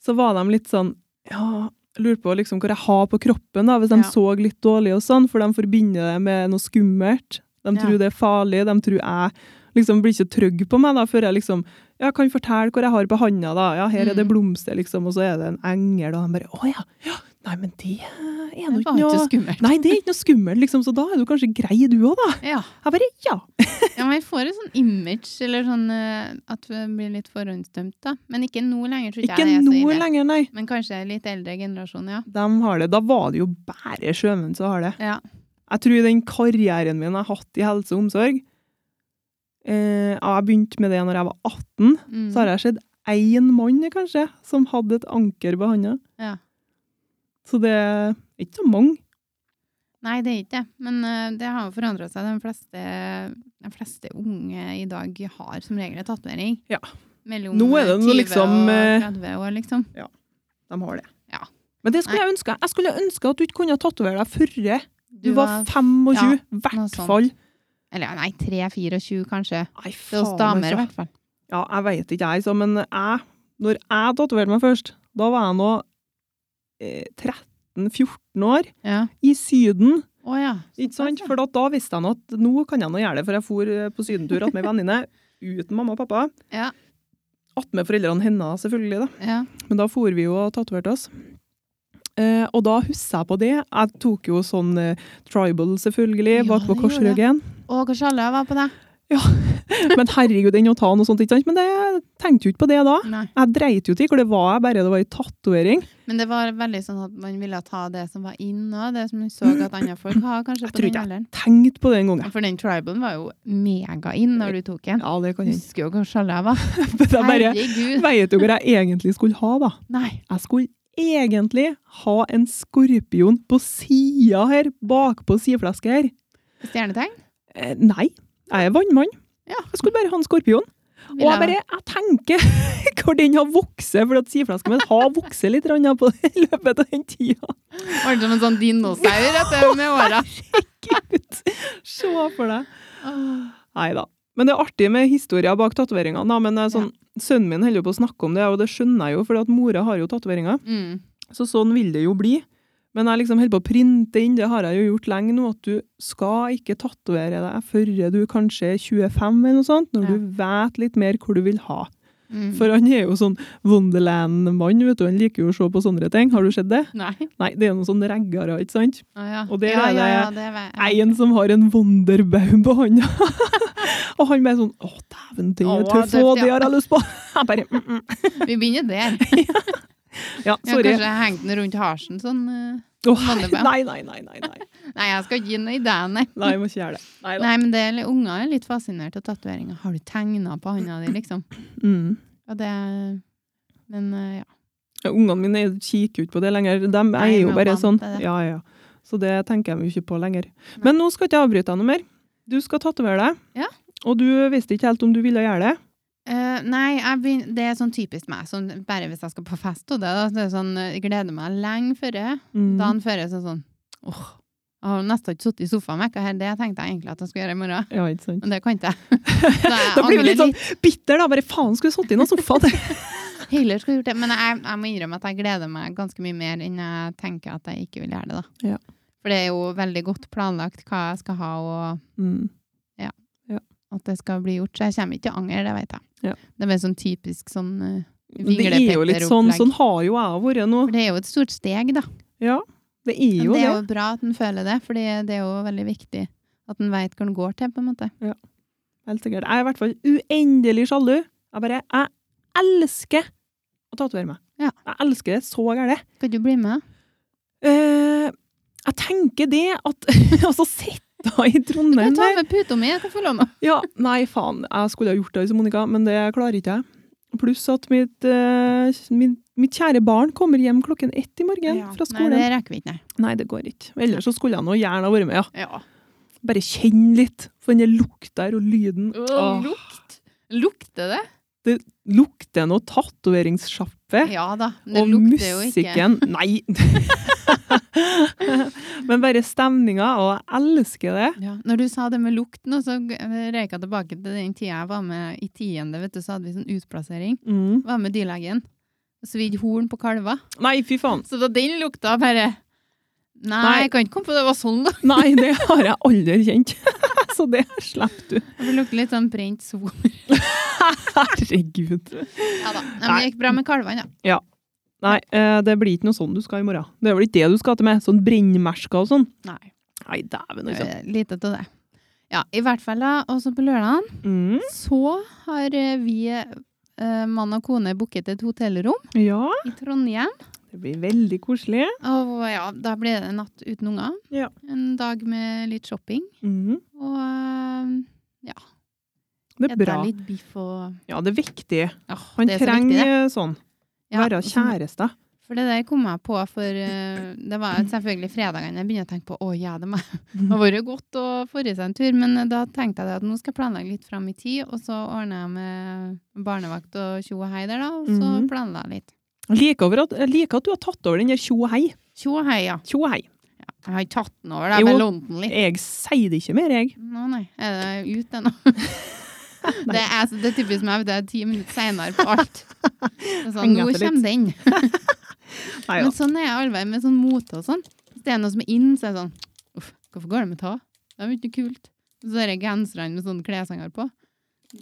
så var de litt sånn Ja, lurer på liksom hva jeg har på kroppen, da, hvis de Ja. så litt dårlig og sånn, for de forbinder det med noe skummelt. De Ja. tror det er farlig. De tror jeg liksom blir ikke trygg på meg da, før jeg liksom ja, kan fortelle hva jeg har på handa. da. Ja, her er det Mm. blomster, liksom, og så er det en engel, og de bare Å ja! ja. Nei, men det er nå Det ikke var ikke noe så skummelt. Nei, det er ikke noe skummelt, liksom, så da er du kanskje grei du òg, da. (laughs) Ja. Jeg bare ja. ja, men jeg får et sånn image, eller sånn eh, at vi blir litt forhåndsdømt, da. Men ikke nå lenger, tror ikke, Ikke jeg det er så noe ille. lenger, nei. Men kanskje litt eldre generasjon, ja. De har det. Da var det jo bare sjømenn som har det. Ja. Jeg tror den karrieren min jeg har hatt i helse og omsorg eh, Jeg begynte med det når jeg var 18. Mm. Så har jeg sett én mann, kanskje, som hadde et anker på handa. Ja. Så det er ikke så mange. Nei, det er ikke det. Men eh, det har jo forandra seg. De fleste, de fleste unge i dag har som regel en tatovering. Ja. Mellom Nå er det noe 20 liksom, eh, og 30 år, liksom. De har det. Ja. Men det skulle jeg ønske. Jeg skulle ønske at du ikke kunne tatovere deg før du var har- 25. I noe hvert sånt. fall. Eller ja, nei, 3-24, kanskje. Nei, Det er hos faen, damer, i altså. hvert fall. Ja, jeg vet ikke jeg, så, men jeg, når jeg tatoverte meg først, da var jeg nå eh, 13-14 år Ja. i Syden. Å ja. Ikke sant? For da, da visste jeg nå at nå kan jeg nå gjøre det, for jeg for eh, på sydentur att med venninne uten mamma og pappa. Ja. Att med foreldrene hennes, selvfølgelig. da. Ja. Men da for vi jo og tatoverte oss. Eh, og da husker jeg på det. Jeg tok jo sånn eh, tribal, selvfølgelig, Ja, bak på det gjorde korsryggen. Og hva sjalle var på deg? Men herregud, den å ta noe sånt, ikke sant? Men det, jeg tenkte jo ikke på det da. Nei. Jeg dreit jo til hvor det var jeg bare det var ei tatovering. Men det var veldig sånn at man ville ta det som var inn og det som man så at andre folk har, kanskje, Jeg på tror den ikke alderen. Tenkt på det en gang. jeg. For den tribalen var jo mega inn når du tok den. Ja, det kan (laughs) Jeg hende. husker jo hvor sjalle jeg var. (laughs) Men jeg bare (laughs) Herregud. veit jo hva jeg egentlig skulle ha, da. Nei. Jeg skulle egentlig ha en skorpion på sida her, bakpå sideflesket her. Stjernetegn? Eh, nei, jeg er vannmann. Ja. Jeg skulle bare ha en skorpion. Og Ville jeg bare jeg tenker (laughs) hvor den har vokst, for at sideflesket mitt har vokst litt grann på (laughs) i løpet av den tida. Var det som en sånn dinosaur etter med (laughs) åra? Gud, (laughs) se for deg. Nei da. Men det er artig med historier bak tatoveringene. da, Men det er sånn, sønnen min holder jo på å snakke om det, og det skjønner jeg jo, for mora har jo tatoveringer. Mm. Så sånn vil det jo bli. Men jeg liksom holder på å printe inn, det har jeg jo gjort lenge nå, at du skal ikke tatovere deg før du kanskje er 25 eller noe sånt, når Ja. du vet litt mer hvor du vil ha. Mm. For han er jo sånn Wonderland-mann, vet du, han liker jo å se på sånne ting. Har du sett det? Nei. Nei, det er noen sånne reggere, ikke sant? Å ja. Og der ja, er det ja, ja, det vet jeg. En som har en wonderbaum på hånda. (laughs) og han bare sånn Å, dæven, det Å, er tøft, tøft, og ja. det har jeg lyst på. (laughs) Jeg bare mm, mm. Vi begynner (laughs) der. Ja, Ja, sorry. kanskje hengt den rundt halsen sånn. eh. Å, wonderbaum. nei, nei, nei, nei, nei. Nei, jeg skal ikke gi den ideen, nei. Nei, jeg må ikke gjøre det. Nei da. Nei, men det er, litt- unger er litt fascinert av tatoveringer. Har du tegna på hånda di, liksom? Mm. Og det Men eh, ja. Ja, Ungene mine er- kikker jo ikke på det lenger. De Nei, er de jo er bare vant sånn. til det. Ja, ja. Så det tenker jeg jo ikke på lenger. Men nå skal ikke jeg avbryte deg noe mer. Du skal tatovere deg. Ja. Og du visste ikke helt om du ville gjøre det. Eh, nei, jeg begyn- det er sånn typisk meg. Sånn, bare hvis jeg skal på fest og det, da. Det er sånn, eh, jeg gleder meg lenge før det. Mm. Dagen før er det sånn sånn Åh, jeg har nesten ikke sittet i sofaen med hva her. Det tenkte jeg egentlig at jeg skulle gjøre i morgen. Ja, ikke sant. Men det kan ikke jeg. (laughs) Så jeg Da blir det angrer litt sånn bitter, da. Bare faen, skulle sittet i noen sofaen. (laughs) Heller skulle gjort det. Men jeg, jeg må innrømme at jeg gleder meg ganske mye mer enn jeg tenker at jeg ikke vil gjøre det, da. Ja. For det er jo veldig godt planlagt hva jeg skal ha, og mm. at det skal bli gjort. Så jeg kommer ikke til å angre, det vet jeg. Ja. Det er bare sånn typisk sånn eh, Det er jo litt sånn. Vinglepetter-opplegg. Sånn har jo jeg vært nå. For det er jo et stort steg, da. Ja. Det er Men jo det det. er jo bra at en føler det, for det er jo veldig viktig at en veit hva en går til, på en måte. Helt sikkert. Jeg er i hvert fall uendelig sjalu. Jeg bare Jeg elsker å tatovere meg. Ja. Jeg elsker det så gærent. Skal du bli med? Eh, jeg tenker det at (laughs) Altså, sitte i Du kan Trondheim ta der med puta mi, jeg kan følge med. Ja, nei, faen. Jeg skulle ha gjort det, Else Monica, men det klarer ikke jeg. Pluss at mitt, eh, min, mitt kjære barn kommer hjem klokken ett i morgen fra skolen. Nei, Nei det rekker vi ikke, nei. det... går ikke. Ellers så skulle jeg nå gjerne ha vært med, ja. Ja. Bare kjenn litt. For den lukta her og lyden. Åh, lukt. Lukter det? lukter noe tatoveringssjappe. Ja da. men Det og lukter jo ikke. musikken Nei! (laughs) Men bare stemninga, og jeg elsker det. Ja. Når du sa det med lukten, og så reka jeg tilbake til den tida jeg var med i tiende, vet du, så hadde vi sånn utplassering. Mm. Var med dyrlegen. Og svidde horn på kalver. Nei, fy faen. Så da den lukta bare Nei, Nei. jeg kan ikke komme på det var sånn, da. (laughs) Nei, det har jeg aldri kjent. (laughs) Så det slipper du. Det lukter litt sånn brent sol. Herregud. Ja da. Nei, men det gikk bra med kalvene, da. Nei, eh, det blir ikke noe sånn du skal i morgen. Det er vel ikke det du skal til med? Sånn brennmersker og sånn? Nei. Nei, dæven, det altså. er Lite av det. Ja, i hvert fall da. Og så på lørdagen Mm. Mhm. så har eh, vi eh, mann og kone booket et hotellrom Ja, i Trondheim. det blir veldig koselig. Og ja, da ble det en natt uten unger. Ja. En dag med litt shopping. Mm. Og eh, ja, Det er bra. spise litt biff og Ja, det er viktig. Åh, Han det er så viktig, det. trenger sånn. Ja, Være og så- kjæreste. For det der kom jeg på, for eh, det var selvfølgelig fredagene jeg begynte å tenke på å ja, det må (laughs) det har vært godt å forrige seg en tur, men eh, da tenkte jeg det at nå skal jeg planlegge litt fram i tid, og så ordner jeg med barnevakt og tjo og hei der, da, og så Mhm. planla jeg litt. Jeg liker, over at, jeg liker at du har tatt over den der tjo og hei. Tjo og hei, ja. Tjo og hei. Jeg har ikke tatt den over, da, jeg bare Jo. lånte den litt. Jeg sier det ikke mer, jeg. Nå, nei. Er det ute (laughs) ennå? det, er, altså, det er typisk meg, vet du, jeg er ti minutter seinere på (laughs) alt. Det er Sånn, Henger nå etter litt. kommer den. Nei, Men da. sånn er jeg allveg med sånn mote og sånn. Hvis det er noe som er inn, så er det sånn Uff, hvorfor går det med ta? Det er jo ikke noe kult. Og Så er det genserne med sånne kleshenger på.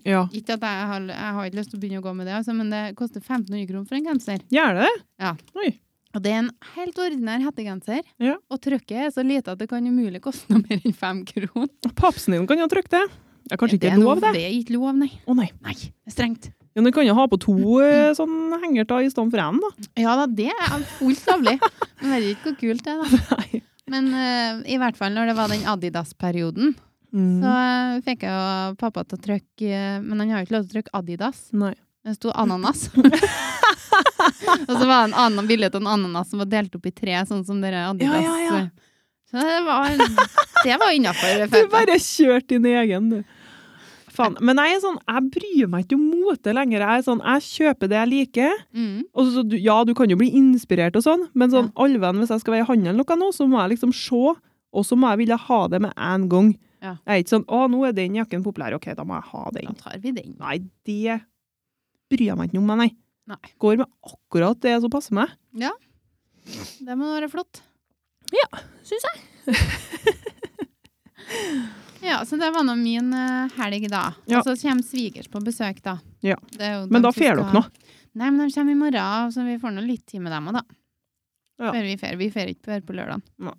Ja. Ikke at jeg har, jeg har ikke lyst til å begynne å gå med det, altså, men det koster 1500 kroner for en genser. Gjør det det? Og det er en helt ordinær hettegenser, Ja. og trykket er så lite at det kan umulig koste noe mer enn fem kroner. Papsen din kan jo trykke det. Det er kanskje ikke er noe- lov, det? Det er ikke lov, nei. Å nei. Nei, det er strengt. Men du kan jo ha på to eh, sånn henger da, i stedet for én, (laughs) da. Ja da, det er fullt lovlig. Men vet ikke hvor kult det er, da. Nei. Men eh, i hvert fall når det var den Adidas-perioden, Mm. så eh, fikk jeg jo pappa til å trykke eh, Men han har jo ikke lov til å trykke Adidas. Nei. Det sto (laughs) ananas. og så var det en annen bilde av en ananas som var delt opp i tre, sånn som dere Adidas. Ja, ja, ja. Så det var, det var innafor. Du bare kjørte din egen, du. Faen. Men jeg er sånn, jeg bryr meg ikke om mote lenger. Jeg er sånn, jeg kjøper det jeg liker. Mm. Og så, du- ja, du kan jo bli inspirert og sånn, men sånn, alven, hvis jeg skal være i handel noe nå, så må jeg liksom se, og så må jeg ville ha det med en gang. Ja. Jeg er ikke sånn, å, nå er den jakken populær, ok, da må jeg ha Da den. tar vi den. Nei, det bryr jeg meg ikke om, meg, nei. Nei. Går med akkurat det som passer meg. Det må være flott. Ja, synes jeg. (laughs) ja, så det var nå min eh, helg, da. Ja. Og så kommer svigers på besøk, da. Ja. Det er jo Men de da som fer skal- dere nå. Nei, men de kommer i morgen, så vi får nå litt tid med dem òg, da. Ja. Før vi fer. Vi fer ikke før på lørdag. Nei.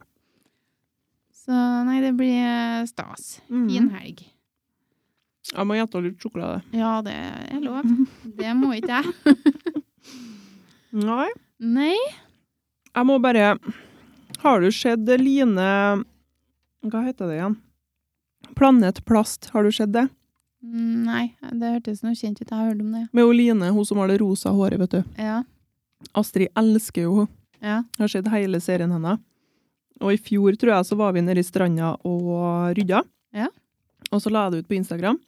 Så nei, det blir eh, stas. Fin Mm. helg. Jeg må gjette litt sjokolade. Ja, det er lov. Det må ikke jeg. Nei. Nei. Jeg må bare Har du sett Line Hva heter det igjen? Planet Plast, har du sett det? Mm, Nei, det hørtes noe kjent ut. Jeg har hørt om det. Med hun Line, hun som har det rosa håret, vet du. Ja. Astrid elsker jo henne. ja. Jeg har sett hele serien hennes. Og i fjor, tror jeg, så var vi nede i stranda og rydda. Ja. Og så la jeg det ut på Instagram.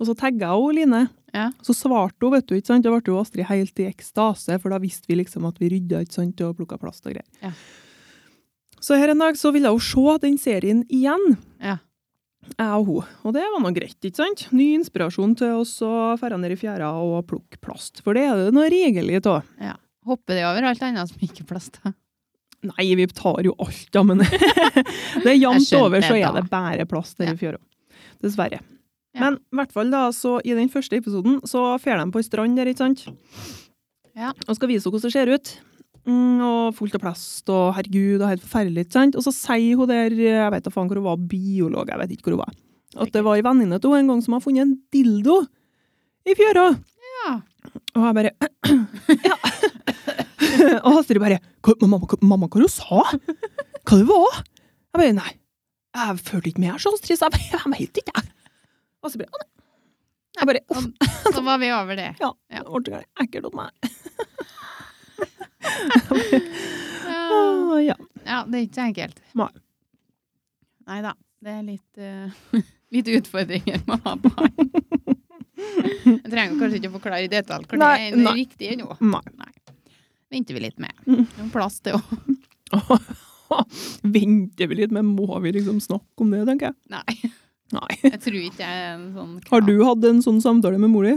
Og så tagga jeg hun Line. Ja. Så svarte hun, vet du, ikke sant? Da ble jo Astrid helt i ekstase, for da visste vi liksom at vi rydda ikke sant? og plukka plast og greier. Ja. Så her en dag så ville hun se den serien igjen. Ja. Jeg og hun. Og det var nå greit, ikke sant? Ny inspirasjon til oss å dra ned i fjæra og plukke plast. For det er det noe regelig av. Hopper det over alt annet som ikke er plast? da? Nei, vi tar jo alt, ja, men (laughs) det er jevnt skjønte over, så det er da. det bare plass der Ja. i fjøra. Dessverre. Ja. Men i hvert fall da, så i den første episoden så fer de på ei strand der, ikke sant? Ja. Og skal vise henne hvordan det ser ut. Mm, og fullt av plast og herregud, og helt forferdelig. ikke sant? Og så sier hun der, jeg vet da faen hvor hun var, biolog, jeg vet ikke hvor hun var, at det var ei venninne til henne en gang som har funnet en dildo i fjøra. Ja. Og jeg bare (clears throat) ja. (laughs) Og Astrid bare «Hva- mamma, hva- mamma, hva hun sa Hva det var? Jeg bare Nei, jeg følte ikke med her, så Astrid. Så jeg bare Jeg vet ikke, jeg. Astrid bare «Å, nei». Jeg bare Uff, Så var vi over det. ja. Ja. Det ble ekkelt om meg. Ja, Å, Ja. ja det er ikke så enkelt. Nei. Nei da. Det er litt, eh, (laughs) litt utfordringer med å ha barn. Jeg trenger kanskje ikke å forklare i detalj hva det Nei, er det nei. riktige nå. Nei. Venter vi litt med. Mm. Noen plass til å (laughs) Venter vi litt, men må vi liksom snakke om det, tenker jeg. Nei. Nei. Jeg tror ikke jeg er en sånn (laughs) Har du hatt en sånn samtale med mor di?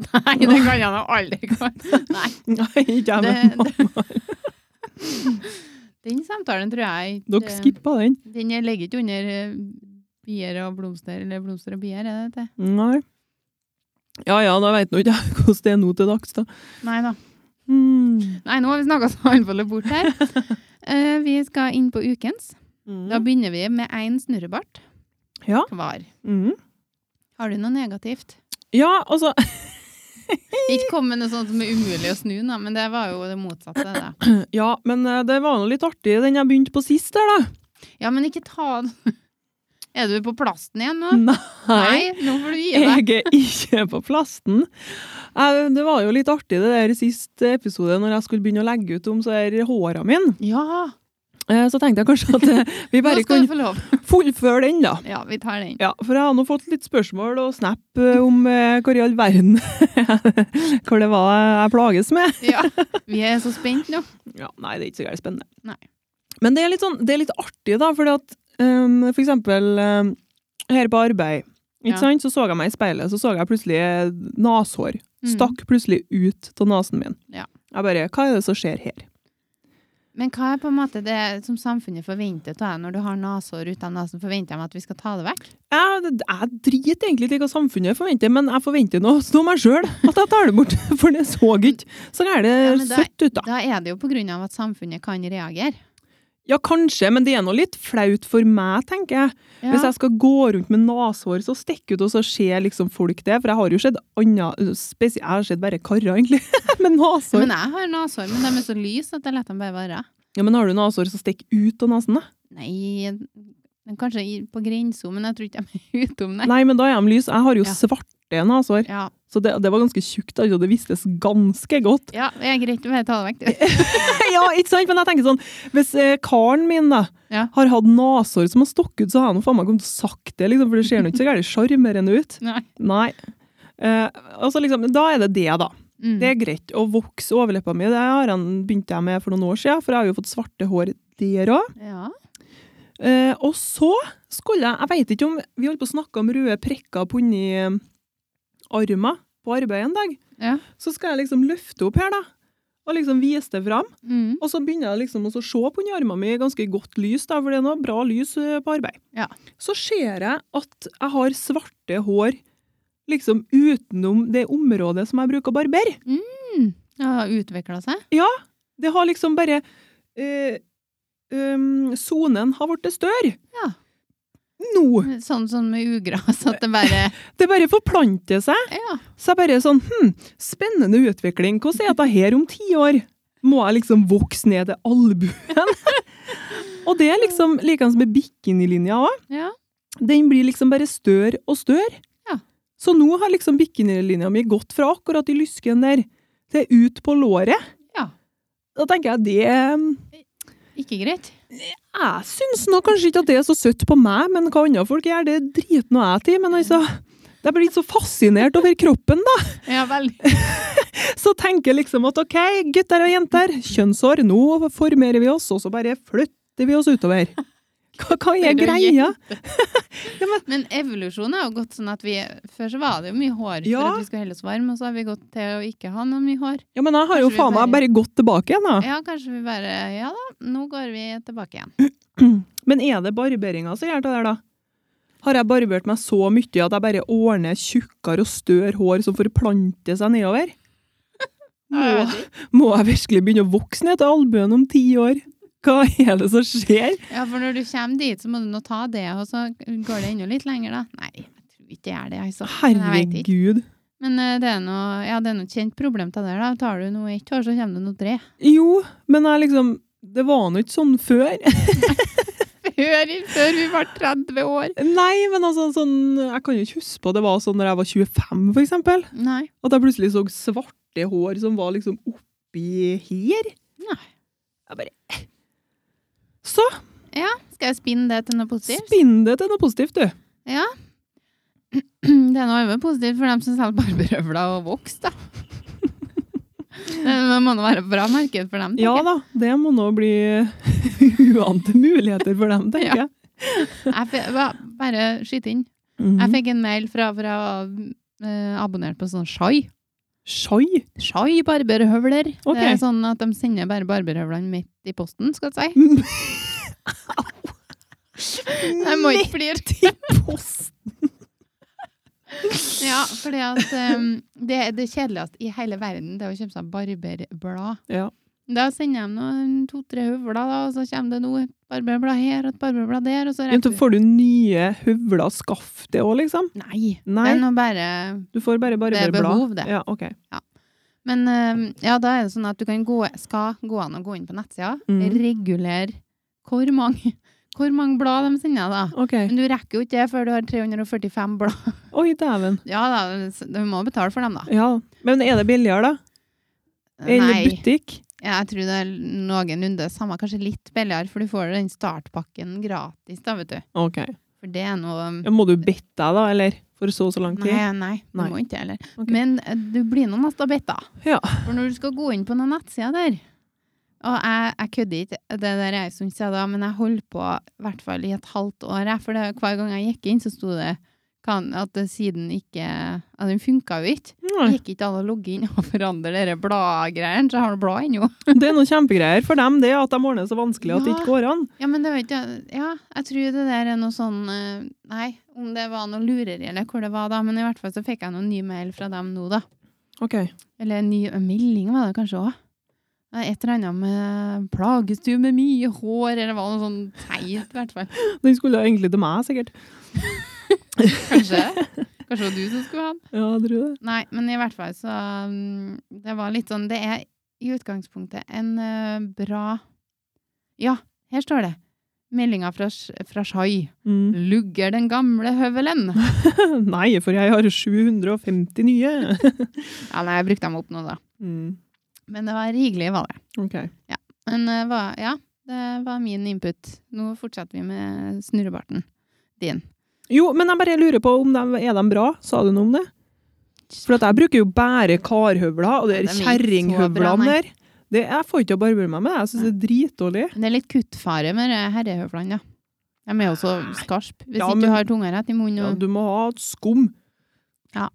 (laughs) Nei, det kan jeg nå aldri kan. Nei. Nei, ikke jeg, men Det- mamma. Den samtalen tror jeg ikke- Dere skippa den. Den ligger ikke under eh, bier og blomster, eller blomster og bier, er det det? Nei. Ja ja, da veit nå ikke jeg (laughs) hvordan det er nå til dags, da. Nei da. Mm. Nei, nå har vi snakka så alvorlig bort (laughs) her. Eh, vi skal inn på ukens. Da begynner vi med én snurrebart Mm. Ja. hver. Mm. Har du noe negativt? Ja, altså (laughs) Ikke kom med noe sånt som er umulig å snu, da, men det var jo det motsatte. Da. Ja, men eh, det var nå litt artig, den jeg begynte på sist der, da. Ja, men ikke ta den Er du på plasten igjen nå? (laughs) Nei, nå får du gi deg. Jeg er ikke på plasten. Eh, Det var jo litt artig det der siste episode, når jeg skulle begynne å legge ut om så her håra mine. Ja, Eh, Så tenkte jeg kanskje at eh, vi nå bare skal kunne du få lov. fullføre den, da. Ja, vi tar den. Ja, for jeg har nå fått litt spørsmål og snap eh, om eh, hvor i all verden (laughs) Hva det var jeg plages med. Ja, vi er så spent nå. Ja, nei, det er ikke så gærent spennende. Nei. Men det er litt, sånn, det er litt artig, da, fordi at um, for eksempel um, her på arbeid, ikke Ja. sant, så så jeg meg i speilet, så så jeg plutselig eh, nashår. Mm. Stakk plutselig ut av nasen min. Ja. Jeg bare, hva er det som skjer her? Men hva er på en måte det som samfunnet forventer av deg når du har nesehår uten nesen? Forventer de at vi skal ta det vekk? Jeg, jeg driter egentlig til hva samfunnet forventer, men jeg forventer noe av meg sjøl at jeg tar det bort, (laughs) for det så ikke så er det Ja, men det- søtt ut, da. Da er det jo på grunn av at samfunnet kan reagere. Ja, kanskje, men det er nå litt flaut for meg, tenker jeg. Ja. Hvis jeg skal gå rundt med nashår, så stikker ut, og så ser liksom folk det. For jeg har jo sett andre spesielt, Jeg har sett bare karer, egentlig, (laughs) med nashår. Men jeg har nesehår, men de er så lyse at jeg lar dem bare være. ja, men har du nashår som stikker ut av nesen, da? Nei, men kanskje i- på grensa, men jeg tror ikke de er utom, nei. Nei, men da er de lyse. Jeg har jo Ja. svarte nashår. Ja, Så det, det var ganske tjukt, altså. Det vistes ganske godt. ja, det er greit å bare ta det vekk. du. (laughs) ja, ikke sant? Men jeg tenker sånn, hvis eh, karen min da, Ja. har hatt nashår som har stukket ut, så har han jo faen meg kommet og sagt det, liksom, for det ser nå ikke så gærent sjarmerende ut. (laughs) Nei. Nei. Eh, altså liksom, da er det det, da. Mm. Det er greit å vokse overleppa mi. Det har han- begynte jeg med for noen år siden, for jeg har jo fått svarte hår der òg. Ja. Eh, og så skulle jeg Jeg vet ikke om Vi holdt på å snakke om røde prikker på inni eh, armen på arbeid en dag. Ja. Så skal jeg liksom løfte opp her, da. Og liksom vise det fram. Mm. Og så begynner jeg liksom å se på under armene mine i ganske godt lys, da, for det er noe bra lys eh, på arbeid. Ja. Så ser jeg at jeg har svarte hår liksom utenom det området som jeg bruker å barbere. Det har utvikla seg. Det har liksom bare eh, um, Sonen har blitt større. Ja. Nå! Sånn som med ugras, at det bare Det bare forplanter seg. Ja. Så jeg bare er sånn Hm, spennende utvikling. Hvordan er dette her om ti år? Må jeg liksom vokse ned til albuen? (laughs) og det er liksom likeens med bikinilinja òg. ja. Den blir liksom bare større og større. Ja. Så nå har liksom bikinilinja mi gått fra akkurat i lysken der til ut på låret. Ja. Da tenker jeg det Ikke greit. Jeg syns nå kanskje ikke at det er så søtt på meg, men hva andre folk gjør, det driter nå jeg til. Men altså, jeg blir så fascinert over kroppen, da. Ja, veldig. Så tenker jeg liksom at OK, gutter og jenter, kjønnshår, nå formerer vi oss, og så bare flytter vi oss utover. Hva, hva er Gutter og greia? (laughs) Men evolusjonen har jo gått sånn at vi Før så var det jo mye hår Ja. for at vi skulle holde oss varme, og så har vi gått til å ikke ha noe mye hår. Ja, men jeg har jo Kanskje vi faen meg bare- bare gått tilbake igjen, da. Ja, kanskje vi bare Ja da, nå går vi tilbake igjen. Men er det barberinga som gjør det der, da? Har jeg barbert meg så mye at jeg bare ordner tjukkere og større hår som forplanter seg nedover? Må, må jeg virkelig begynne å vokse ned til albuen om ti år? Hva er det som skjer? Ja, for når du kommer dit, så må du nå ta det, og så går det enda litt lenger, da. Nei, jeg tror ikke det er det, altså. Men jeg vet ikke. Herregud. Men eh, det er noe, ja, det er noe kjent problem til det der, da. Tar du noe ett år, så kommer det noe (laughs) tre. Jo, men jeg liksom Det var nå ikke sånn før. Før, før vi var 30 år. Nei, men altså sånn Jeg kan jo ikke huske på det var sånn når jeg var 25, for eksempel. Nei. At jeg plutselig så svarte hår som var liksom oppi her. Nei. Jeg bare eh. Så Skal jeg spinne det til noe positivt? spinn det til noe positivt, du. Ja. (clears throat) Det er noe over positivt for dem som selger barberøvler og voks, (laughs) da. Det må nå være bra marked for dem. tenker Ja jeg. da, det må nå bli (laughs) uante muligheter for dem, tenker Ja. jeg. Jeg fe- ba- bare skyt inn. Mhm. Jeg fikk en mail fra, fra eh, abonnert på sånn Shai. Shai! Shai barberhøvler. Ok. Det er sånn at de sender bare barberhøvlene midt i posten, skal jeg si. Jeg må ikke flire. post! Ja, fordi at eh, det er det kjedeligste i hele verden, det er å kjøpe seg barberblad. Ja. Da sender de noen to-tre høvler, da, og så kommer det noe et barberblad her og et barberblad der, og så Men så får du nye høvler skaff det òg, liksom? Nei. Det Nei, er nå bare du får bare bare Det er blad. behov, det. Ja, ok. Men eh, ja, da er det sånn at du kan gå, skal gå an å gå inn på nettsida, Mm. regulere hvor mange, hvor mange blad de sender, da. Ok. Men du rekker jo ikke det før du har 345 blad. Oi, dæven. Ja da, du må betale for dem, da. Ja. Men er det billigere, da? Eller Nei, Eh, butikk? jeg tror det er noenlunde samme, kanskje litt billigere, for du får den startpakken gratis, da, vet du. Ok. For det er noe Ja, må du bitte deg, da, eller? For så og så lang tid? Nei, nei, du Nei. må ikke heller. Ok. Men eh, du blir nå nesten bitt, da. Ja. For når du skal gå inn på noen nettsider der Og jeg, jeg kødder ikke, det der er en stund siden da, men jeg holdt på i hvert fall i et halvt år. jeg, For det, hver gang jeg gikk inn, så sto det kan, at det siden ikke At den funka jo ikke. Nei. Gikk ikke an å logge inn og forandre de bladgreiene, så jeg har noe blad ennå. Det er noen kjempegreier for dem, det at de ordner det så vanskelig at det ikke går an. Ja, men det var ikke Ja, jeg tror det der er noe sånn eh, Nei, om det var noe lureri eller hvor det var da, men i hvert fall så fikk jeg noen ny mail fra dem nå, da. Ok. Eller en ny en melding var det kanskje òg. Et eller annet med 'plages du med mye hår', eller var det noe sånn teit, i hvert fall. Den skulle egentlig til meg, sikkert. (laughs) Kanskje. Kanskje det var du som skulle ha den. Ja, jeg tror det. Nei, men i hvert fall så mm, Det var litt sånn Det er i utgangspunktet en eh, bra Ja, her står det. Meldinga fra, Sh- fra Shai. Mm. (laughs) Lugger den gamle høvelen. Nei, for jeg har 750 nye. (laughs) Ja, nei, jeg brukte dem opp nå, da. Mm. Men det var rigelig, var det. Ok. Men eh, hva, ja, det var min input. Nå fortsetter vi med snurrebarten din. Jo, men jeg bare lurer på om de er de bra. Sa du noe om det? For at jeg bruker jo bare karhøvler, og det Ja, de er er ikke så bra, kjerringhøvlene nei. der. Det, jeg får ikke å barbere meg med det. Jeg syns det er dritdårlig. Det er litt kuttfare med de herrehøflene, ja. De er jo så skarpe. Hvis Ja, ikke men- du har tunga rett i munnen. Ja, og- du må ha skum. Mm. Ja.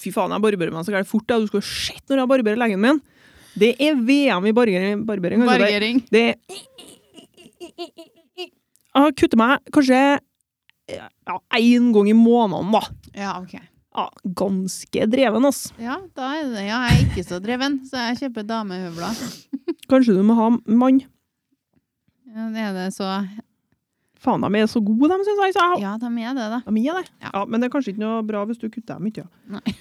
Fy faen, jeg barberer meg så gærent fort. Ja. Du skulle sett når jeg barberer leggen min. Det er VM i barber- barbering. altså. Det- Bargering. Det er Jeg kutter meg kanskje ja, én gang i måneden, da. Ja, ok. Ja, ganske dreven, ass. Ja, da er det. Ja, jeg er ikke så dreven, så jeg kjøper damehøvler. Kanskje du må ha mann. Ja, det er det så Faen, de er så gode, de, syns jeg. Så jeg. Ja, de er det, da. De er det. Ja. Ja. men det er kanskje ikke noe bra hvis du kutter dem ikke. Nei. (laughs)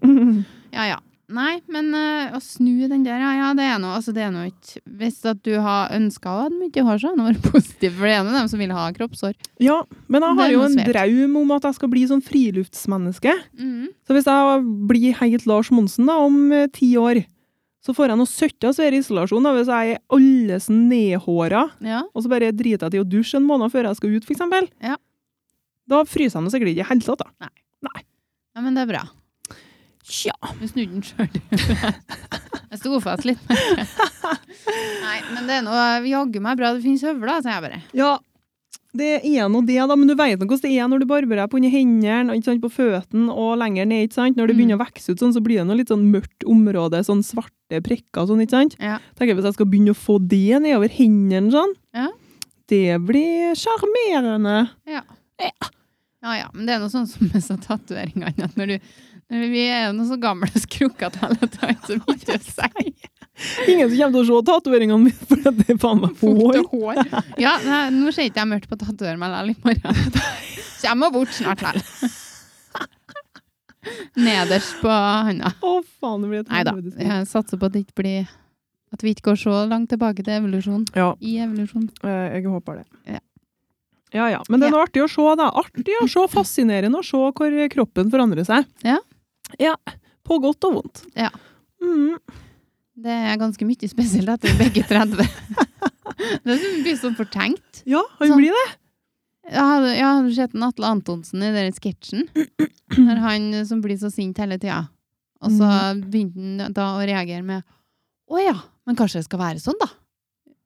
Mm. Ja, ja. Nei, men eh, å snu den der, ja, ja, det er noe, altså det er noe ikke Hvis at du har ønska å ha mye hår, så er det noe (laughs) positivt, for det er noe dem som vil ha kroppshår. Ja, men Det jeg er har jo noe en svært. draum om at jeg skal bli sånn friluftsmenneske. Mhm. Så hvis jeg blir helt Lars Monsen da, om eh, ti år, så får jeg noe søtt av svær isolasjon da, hvis jeg er alles nedhåra, Ja. og så bare driter jeg til å dusje en måned før jeg skal ut, for eksempel. Ja. Da fryser jeg meg sikkert ikke i det hele tatt, da. ja, men det er bra. Tja. Du snudde den sjøl. (laughs) Jeg sto fast litt. Nei, men det er noe jaggu meg bra det finnes høvler, sier jeg bare. Ja, det er nå det, da, men du vet nå hvordan det er når du barberer deg på under hendene, og ikke sant, på føttene og lenger ned, ikke sant? Når det Mm. begynner å vokse ut sånn, så blir det noe litt sånn mørkt område, sånn svarte prikker og sånn, ikke sant? Ja. Tenker jeg hvis jeg skal begynne å få det nedover hendene sånn, Ja. det blir sjarmerende. Ja ja, men det er noe sånn som med så tatoveringene, at sånn når du, Vi er jo noen så gamle skrukker at alle tar ut så mye å si. Ingen som kommer til å se tatoveringene mine, for det er faen meg hår. Fukte hår. Ja, nei, nå ser ikke jeg mørkt på å tatovere meg likevel i morgen. Så jeg må bort snart likevel. Nederst på handa. Å, faen, det blir et Nei da. helvetes liv. Jeg satser på at det ikke blir At vi ikke går så langt tilbake til evolusjon. Ja, I evolusjon. eh, jeg håper det. Ja. Ja, ja. Men det er noe artig å se, da. Artig å se, fascinerende å se hvor kroppen forandrer seg. Ja. Ja. På godt og vondt. Ja. Mm. Det er ganske mye spesielt etter begge (laughs) 30. Det blir sånn fortenkt. Ja, han Sånn. blir det. Jeg hadde, jeg hadde sett en Atle Antonsen i den sketsjen. Når han eh, som blir så sint hele tida. Og så begynte han da å reagere med Å ja, men kanskje det skal være sånn, da?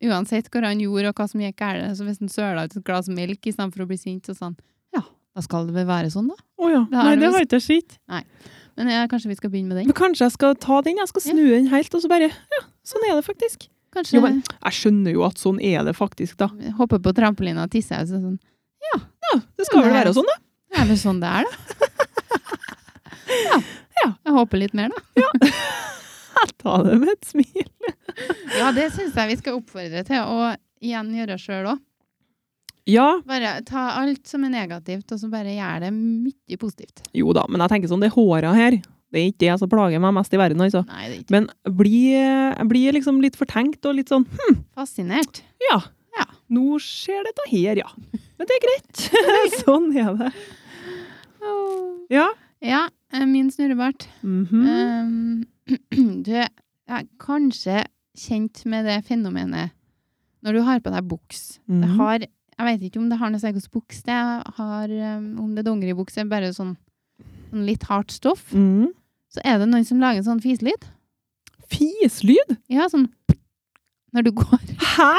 Uansett hva han gjorde og hva som gikk galt. Så hvis han søla ut et glass melk istedenfor å bli sint, så sa han ja, da skal det vel være sånn, da. Å ja. har Nei, du det visst. har ikke jeg sett. Men ja, kanskje vi skal begynne med den? Men kanskje jeg skal ta den. Jeg skal snu den helt, og så bare Ja, sånn er det faktisk. Kanskje Jo, men jeg skjønner jo at sånn er det faktisk, da. hoppe på trampolina og tisse og så sånn Ja, det skal Ja, vel det er være sånn, da. Det er vel sånn det er, da. (laughs) ja. Ja. Jeg håper litt mer, da. Ta det med et smil. Ja, det syns jeg vi skal oppfordre til, og igjen gjøre sjøl òg. Ja, Bare ta alt som er negativt, og så bare gjør det mye positivt. jo da, men jeg tenker sånn, det håret her, det er ikke det som plager meg mest i verden, altså. Nei, det er ikke Men jeg blir, jeg blir liksom litt fortenkt og litt sånn fascinert. Ja. Ja. Nå skjer dette her, ja. Men (laughs) det er greit. sånn er det. Ja. Ja, eh, min snurrebart. Mhm. Um, (clears throat) du er er kanskje kjent med det fenomenet når du har på deg buks. Det Mhm. har, jeg vet ikke om det har noe særlig hos buks, det har, um, om det er dongeribukse, bare sånn, sånn litt hardt stoff. Mhm. Så er det noen som lager en sånn fiselyd. Fislyd? Ja, sånn når du går. (laughs) Hæ?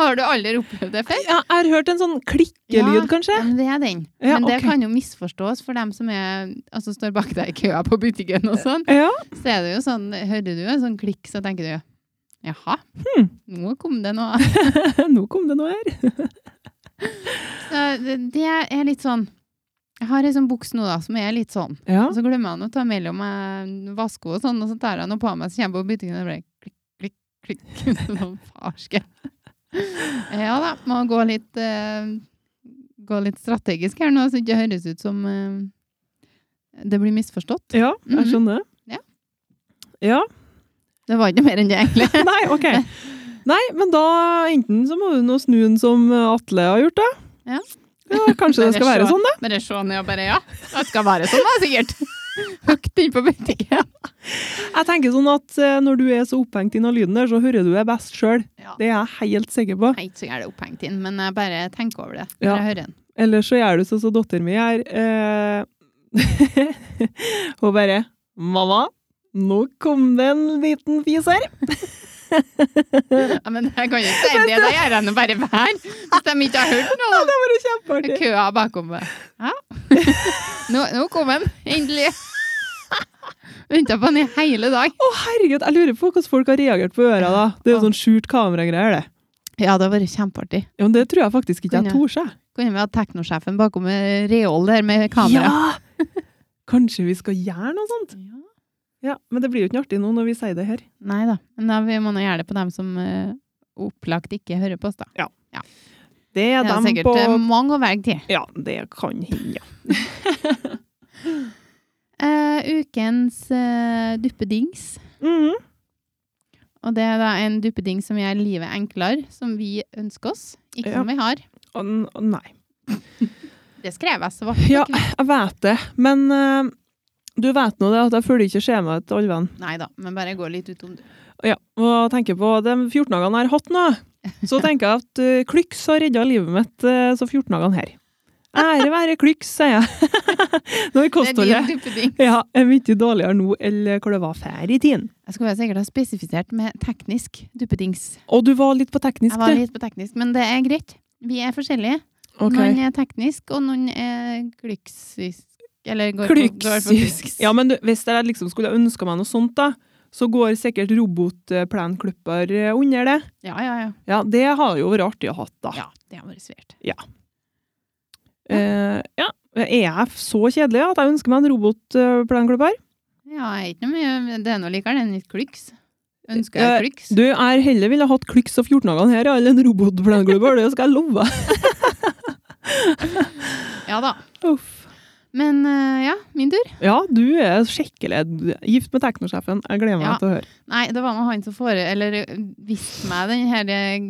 Har du aldri opplevd det før? Ja, jeg har hørt en sånn Ja. klikkelyd, kanskje? Ja, men det er den. Ja, men det ok. kan jo misforstås for dem som er, altså, står bak deg i køa på butikken og sånn. Ja. (laughs) Så er det jo sånn, hører du en sånn klikk, så tenker du jaha, Hmm. nå kom det noe. Nå kom det noe her. Så det, det er litt sånn Jeg har ei sånn buks nå da, som er litt sånn. Ja. Og så glemmer han å ta mellom meg vasko og sånn, og så tar han noe på meg, så kommer jeg på butikken og det bare klikk, klikk, (laughs) klikk. Sånn farske. Ja da, må gå litt, eh, gå litt strategisk her nå, så det ikke høres ut som eh, det blir misforstått. ja, jeg Mhm. skjønner. Ja. Ja. Det var ikke mer enn det, egentlig. (laughs) Nei, (laughs) ok. Nei, men da enten så må du nå snu den som Atle har gjort, da. Ja. Ja, kanskje det skal Bare være se- sånn, da. Bare se ned og bare ja, det skal være sånn, da, sikkert. (laughs) Høgt inn på butikken. Jeg tenker sånn at eh, når du er så opphengt i den lyden der, så hører du det best sjøl. Ja. Det er jeg helt sikker på. Nei, ikke så gærent opphengt inn, men jeg bare tenker over det når Ja. jeg hører den. Ellers så gjør du sånn som datteren min her. Eh, (laughs) hun bare 'Mamma, nå kom det en liten fis her'. Ja, (laughs) men jeg kan jo ikke si det, da gjør jeg nå bare vær. Hvis de ikke har hørt noe. Ja, det var jo Det er kjempeartig. køa bakom meg. (laughs) Ja. Nå, nå kom han, endelig. Venta på han i hele dag. Å, herregud, jeg lurer på hvordan folk har reagert på øra da. Det er jo sånn skjult kameragreier, det. Ja, det har vært kjempeartig. Ja, men det tror jeg faktisk ikke jeg Kunne- torde. Kunne vi hatt teknosjefen bakom med reol der med kamera? Ja! (laughs) Kanskje vi skal gjøre noe sånt? Ja, Men det blir jo ikke noe artig nå når vi sier det her. Nei da. Men da vi må nå gjøre det på dem som eh, opplagt ikke hører på oss, da. Det er Det er dem sikkert på eh, mange å velge til. Ja, det kan hende, ja. Eh, ukens eh, duppedings. Mhm. Og det er da en duppedings som gjør livet enklere, som vi ønsker oss. Ikke Ja. som vi har. Å, n- å, nei. Det skrev jeg så vart. Ja, jeg vet det, men eh, du vet nå det at jeg følger ikke skjemaet til Olven. Nei da, men bare gå litt utom, du. Ja, og tenker på de 14 dagene jeg har hatt nå, så tenker jeg at eh, Klyks har redda livet mitt eh, så 14 dagene her. Ære være Klyks, sier jeg. (laughs) Når Det er kostholdet din duppedings. ja, er mye dårligere nå enn hva det var før i tiden. Jeg skulle sikkert ha spesifisert med teknisk duppedings. Og du var litt på teknisk, Jeg var du. litt på teknisk, men det er greit. Vi er forskjellige. Ok. Noen er teknisk, og noen er glyksysk. Eller går på, går på (laughs) Klyksisk. Ja, men du, hvis jeg liksom skulle ønska meg noe sånt, da, så går sikkert robotplenklipper under det. ja, ja, ja. Ja, det har jo vært artig å ha, da. Ja, det har vært svært. Eh, ja. Er jeg så kjedelig at jeg ønsker meg en robotplenklipper? Ja, jeg er ikke noe mye Det er noe likere enn litt klyks. Ønsker jeg Eh, klyks? Du, jeg heller ville hatt klyks og 14-dagene her, ja, eller en robotplenklipper, det skal (laughs) jeg love. Ja da. Uff. Men eh, ja, min tur. Ja, du er skikkelig gift med teknosjefen. Jeg gleder meg Ja. til å høre. Nei, det var nå han som fore... Eller eh, viste meg den her eh,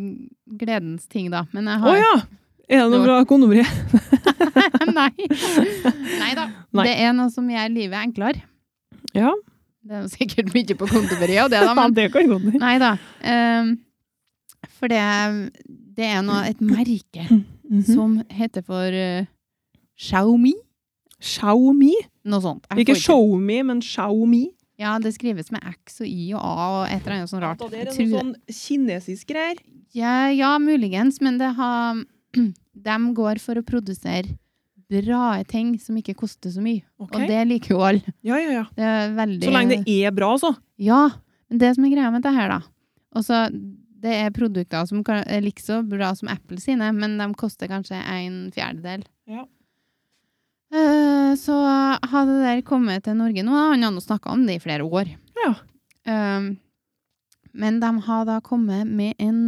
gledens ting, da. Men jeg Å har ja! Er det noe fra kondomeriet? (laughs) (laughs) Nei. Nei da. Nei. Det er noe som gjør livet enklere. Ja. Det er jo sikkert mye på kontoret og det, da, Ja, men det kan godt hende. nei da. Ehm, for det, det er noe, et merke Mhm. som heter for eh, Xiaomi. Xiaomi? Noe sånt. Jeg Ikke får Xiaomi, men Xiaomi. Ja, det skrives med X og Y og A og et eller annet sånt rart. Da, Det er Jeg noe tror- sånn kinesisk greier. Ja, ja, muligens, men det har (clears throat) De går for å produsere bra ting som ikke koster så mye. Ok. Og det liker jo alle. Ja, ja, ja. Det er veldig Så lenge det er bra, så. Ja, men det som er greia med dette her, da Også, Det er produkter som kan, eh, er like så bra som Apple sine, men de koster kanskje en fjerdedel. Ja. Eh, så har det der kommet til Norge nå. da. Han har nå snakka om det i flere år. Ja. Eh, men de har da kommet med en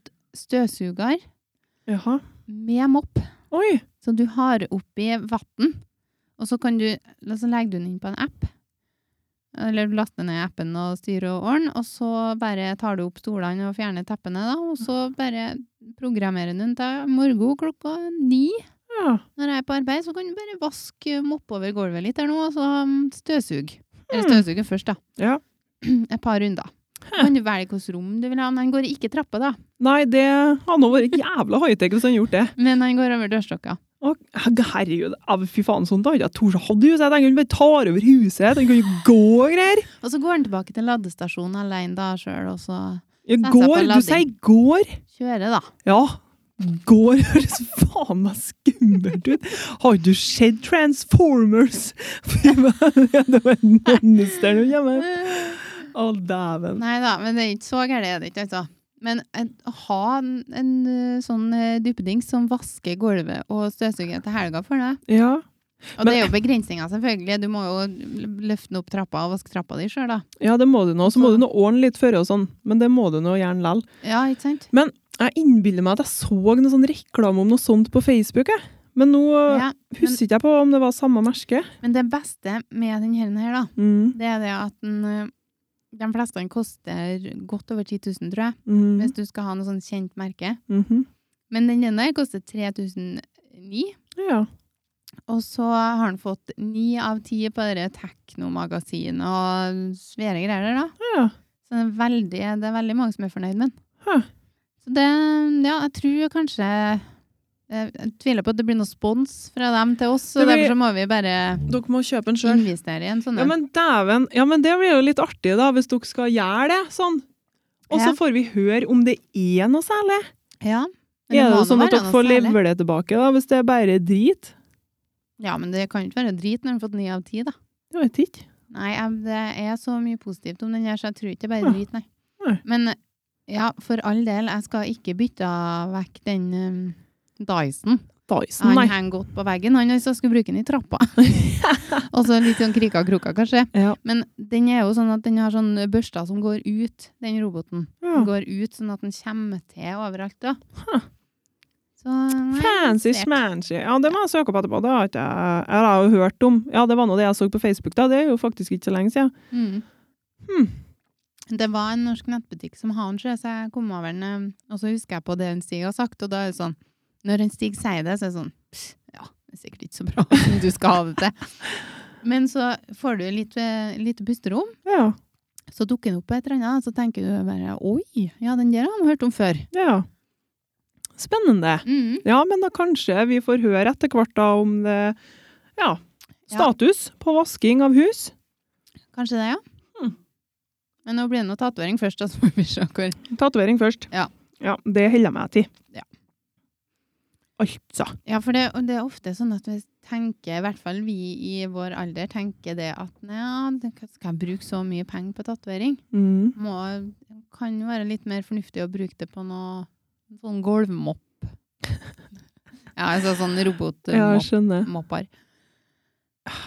robotstøvsuger Jaha. med mopp. Oi. Så du har oppi vann, og så kan du, eller så legger du den inn på en app. Eller du laster ned appen og styrer og ordner, og så bare tar du opp stolene og fjerner teppene, da, og så bare programmerer du den til morgen klokka ni. Ja. Når jeg er på arbeid, så kan du bare vaske moppe over gulvet litt her nå, og så mm, støvsug. Eller Hmm. støvsuge først, da. Ja. (clears throat) Et par runder. Hæ. Kan du velge hvilket rom du vil ha, men han går ikke trappa, da. Nei, det hadde nå vært jævla high-tech hvis han gjort det. Men han går over dørstokka. Å, herregud, au, fy faen, sånn da hadde jeg tort. Hadde jo sett, den kunne bare tar over huset, den kunne gå og greier. Og så går han tilbake til ladestasjonen alene da sjøl, og så Jeg Satser på går, du lading. sier går. kjøre, da. Ja, går (laughs) høres faen meg skummelt ut. Har du sett Transformers? (laughs) Fy faen, det var en monster nå hjemme. Å, dæven. Nei da, men det er ikke så gærent, er det ikke, altså. Men en- å ha en, en eh, sånn eh, duppedings som vasker gulvet og støvsuger til helga for deg Ja. Og det er jo begrensninger, selvfølgelig. Du må jo l- løfte den opp trappa og vaske trappa di sjøl, da. ja, det må du nå. Så må du nå ordne litt før og sånn, men det må du nå gjerne lell. Ja, ikke sant? Jeg innbiller meg at jeg så noe sånn reklame om noe sånt på Facebook, jeg. Men nå eh, Ja. husker ikke jeg på om det var samme merke. Men det beste med den her, her, da, Mm. det er det at den eh, de fleste den koster godt over 10 000, tror jeg, Mm. hvis du skal ha noe sånn kjent merke. Mhm. Men den ene koster 3009, Ja. Og så har han fått ni av ti på det teknomagasinet og svære greier der, da. ja. Så det er veldig, det er veldig mange som er fornøyd med den. Hæ. Så det Ja, jeg tror kanskje Jeg jeg tviler på at det blir noe spons fra dem til oss, så Det blir- derfor så må vi bare Dere må kjøpe en sjøl. investere i en sånn Ja, en. men dæven. Ja, men det blir jo litt artig, da, hvis dere skal gjøre det sånn. Og så Ja. får vi høre om det er noe særlig. Ja, men Er må nå det sånn være at dere noe får særlig. levere det tilbake, da, hvis det er bare drit? Ja, men det kan jo ikke være drit når de har fått ni av ti, da. Jeg vet ikke. Nei, jeg- det er så mye positivt om den her, så jeg tror ikke det er Ja. bare drit, nei. Nei. Men ja, for all del, jeg skal ikke bytte vekk den um, Dyson. Dyson, Han nei. henger godt på veggen, han altså skal bruke den i (laughs) trappa. Og så litt sånn krika og kroka, kanskje. Ja. Men den er jo sånn at den har sånn børster som går ut, den roboten. Ja. Den går ut sånn at den kommer til overalt, da. Huh. Så, nei, Fancy interessert. smansy. Ja, det må jeg søke opp etterpå. Det har ikke jeg, jeg har jo hørt om. Ja, det var nå det jeg så på Facebook, da. Det er jo faktisk ikke så lenge siden. Mm. Hmm. Det var en norsk nettbutikk som har den, tror jeg, så jeg kom over den, eh, og så husker jeg på det en Stig har sagt, og da er det sånn, når en Stig sier det, så er det sånn, «Pff, ja, det er sikkert ikke så bra (laughs) som du skal ha det til. Men så får du litt, eh, litt pusterom, Ja. så dukker den opp på et eller annet, så tenker du bare, oi, ja, den der har man hørt om før. ja. Spennende. Mm. Ja, men da kanskje vi får høre etter hvert da om det Ja. Ja. Status på vasking av hus. Kanskje det, ja. Hmm. Men nå blir det noe tatovering først, da, så får vi se hvor. Tatovering først. Ja. Ja, Det holder jeg meg til. Ja. Altså. Ja, for det, og det er ofte sånn at vi tenker, i hvert fall vi i vår alder, tenker det at ja, skal jeg bruke så mye penger på tatovering? Mm. Må, kan (laughs) jo være litt mer fornuftig å bruke det på noe sånn gulvmopp. Ja, altså sånn Ja, jeg robotmopper. skjønner.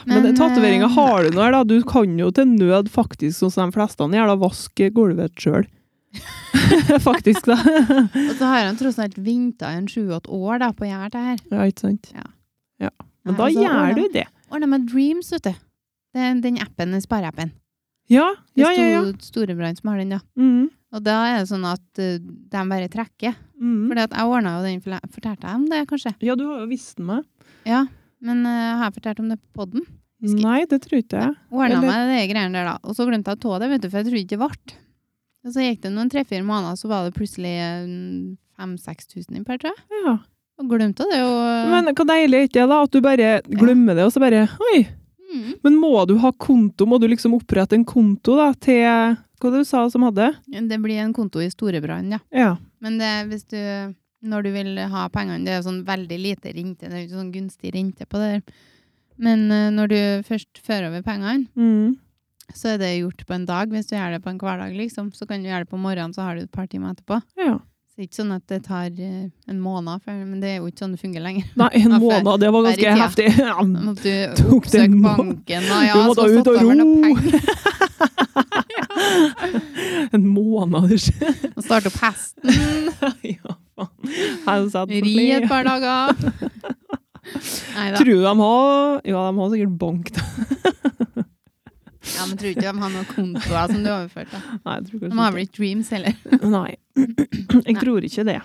Men, eh, tatoveringa har du nå her, da. Du kan jo til nød faktisk, sånn som de fleste gjør, da, vaske gulvet sjøl. (laughs) faktisk, da. eh, Og så har han tross alt venta en sju-åtte år da, på å gjøre det her. Ja, ikke sant? Ja. Ja. Men Nei, da altså, gjør du det. Ordna med Dreams, vet du. Det er den appen, den spareappen. Ja, Det ja, ja. ja. er Storebrand som har den, da. Mm. Og da er det sånn at eh, de bare trekker. Mm. For jeg ordna jo den, forle- fortalte jeg om det, kanskje? Ja, du har jo visst den meg. Ja. Men eh, har jeg fortalt om det på poden? Husker- Nei, det tror ikke jeg. Ordna Eller- meg det greiene der, da. Og så glemte jeg å ta det, vet du, for jeg trodde ikke det ble. Og så gikk det noen tre-fire måneder, så var det plutselig eh, 5000-6000 inn per, tror jeg. Ja. Og glemte det jo. eh, Men hva deilig er ikke det, da? At du bare glemmer det, og så bare Oi! mm. Men må du ha konto? Må du liksom opprette en konto da, til Hva var det du sa som hadde? Det blir en konto i Storebrand, ja. Ja. Men det, hvis du, når du vil ha pengene, det er jo sånn veldig lite rente, det er jo ikke sånn gunstig rente på det der. Men eh, når du først fører over pengene, Mm. så er det gjort på en dag. Hvis du gjør det på en hverdag, liksom, så kan du gjøre det på morgenen, så har du et par timer etterpå. ja. Så det er ikke sånn at det tar eh, en måned, før, men det er jo ikke sånn det fungerer lenger. Nei, en Ja, før- måned. Det var før i ganske tida. heftig. (laughs) Ja. Da måtte (laughs) du Tok det oppsøke en må- banken, og ja, Du så måtte ut satt og over noen ro. penger, En måned, (laughs) det skjer. og starte opp hesten, Ja, faen. Her satt (laughs) på ri flere. et par dager. (laughs) Neida. Tror du de har Ja, de har sikkert bank, da. Ja, men tror ikke de har noen kontoer som du overførte. Nei, jeg tror De har kanskje vel ikke Dreams heller. ikke Nei. (clears throat) Jeg Nei. tror ikke det.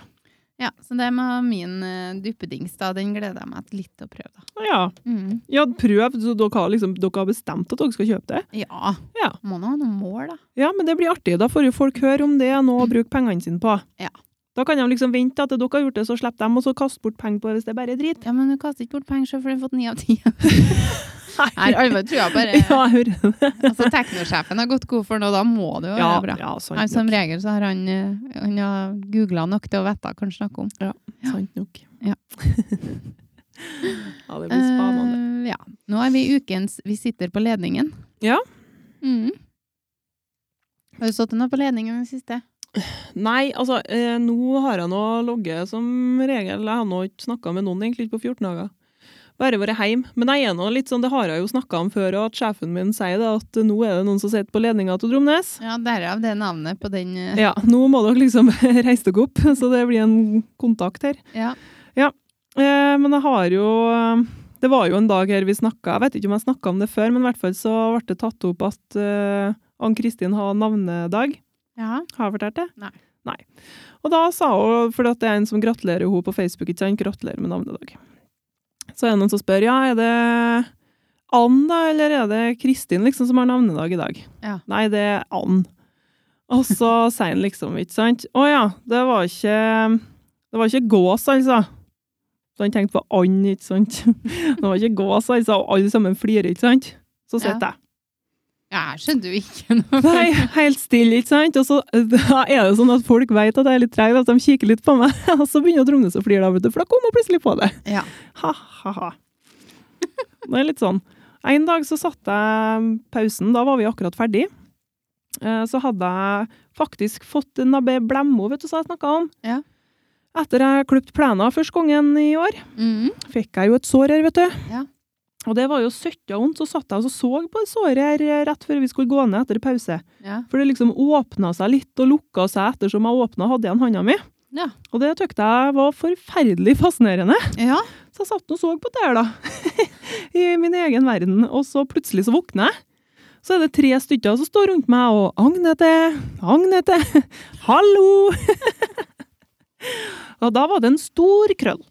Ja, Så det med min eh, duppedings, da, den gleder jeg meg litt til å prøve, da. Ja. Mm. ja prøv. Så dere har, liksom, dere har bestemt at dere skal kjøpe det? Ja. Ja. Må nå ha noen mål, da. Ja, men det blir artig. Da får jo folk høre om det nå og bruke pengene sine på. Ja. Da kan de liksom vente at dere har gjort det, så slipper de å kaste bort penger på det hvis det bare er drit. Ja, men du kaster ikke bort penger selv, for du har fått ni av ti. Nei, Alve tror jeg bare (laughs) Ja, jeg hører det. Altså, teknosjefen har gått god for noe, da må det jo være Ja, bra. ja, sant Nei, nok. som regel så har han, eh, han har googla nok til å vite hva han snakker om. Sant nok. Ja. (laughs) ja, det blir spennende. Eh, ja. Nå er vi i ukens Vi sitter på ledningen. Ja. Mm. Har du stått noe på ledningen i det siste? Nei, altså, eh, nå har jeg nå ligget som regel. Jeg har nå ikke snakka med noen egentlig på 14 dager. Bare vært hjemme. Men jeg er nå litt sånn, det har jeg jo snakka om før, og at sjefen min sier det, at nå er det noen som sitter på ledninga til Dromnes. Ja, derav det navnet på den eh, Ja, nå må dere liksom (laughs) reise dere opp, så det blir en kontakt her. Ja. Eh, men jeg har jo eh, Det var jo en dag her vi snakka, jeg vet ikke om jeg snakka om det før, men i hvert fall så ble det tatt opp at eh, Ann-Kristin har navnedag. ja. Har jeg fortalt det? Nei. Nei. Og da sa hun, for det er en som gratulerer henne på Facebook, ikke sant? Gratulerer med navnedag. Så er det noen som spør, ja, er det Ann da, eller er det Kristin liksom som har navnedag i dag? Ja. Nei, det er Ann. Og (laughs) så sier han liksom, ikke sant? Å ja, det var ikke, det var ikke gås, altså. Så han tenkte på and, ikke sant? (laughs) Det var ikke gås, altså, og alle sammen flirer, ikke sant? Så Ja. sitter jeg. ja jeg skjønte jo ikke (laughs) noe. Nei, helt stille, ikke sant? Og så da er det sånn at folk vet at jeg er litt treg, at de kikker litt på meg, (laughs) og så begynner Tromnes å flire, da, vet du, for da kom hun plutselig på det. Ja. Ha, ha, ha. Det er litt sånn. En dag så satte jeg pausen, da var vi akkurat ferdig. Eh, Så hadde jeg faktisk fått en nabbe blemmo, vet du, som jeg snakka om. Ja. Etter jeg klippet plena første gangen i år Mm. fikk jeg jo et sår her, vet du. Ja. Og det var jo søtta vondt, så satt jeg og så, så på det såret her eh, rett før vi skulle gå ned etter pause. Ja. For det liksom åpna seg litt og lukka seg ettersom jeg åpna hadde igjen handa mi. Ja. Og det tykte jeg var forferdelig fascinerende. ja. Så jeg satt og så på det her, da. (laughs) I min egen verden. Og så plutselig så våkner jeg. Så er det tre stykker som står rundt meg og 'Agnete, Agnete, (laughs) hallo!' (laughs) og da var det en stor krøll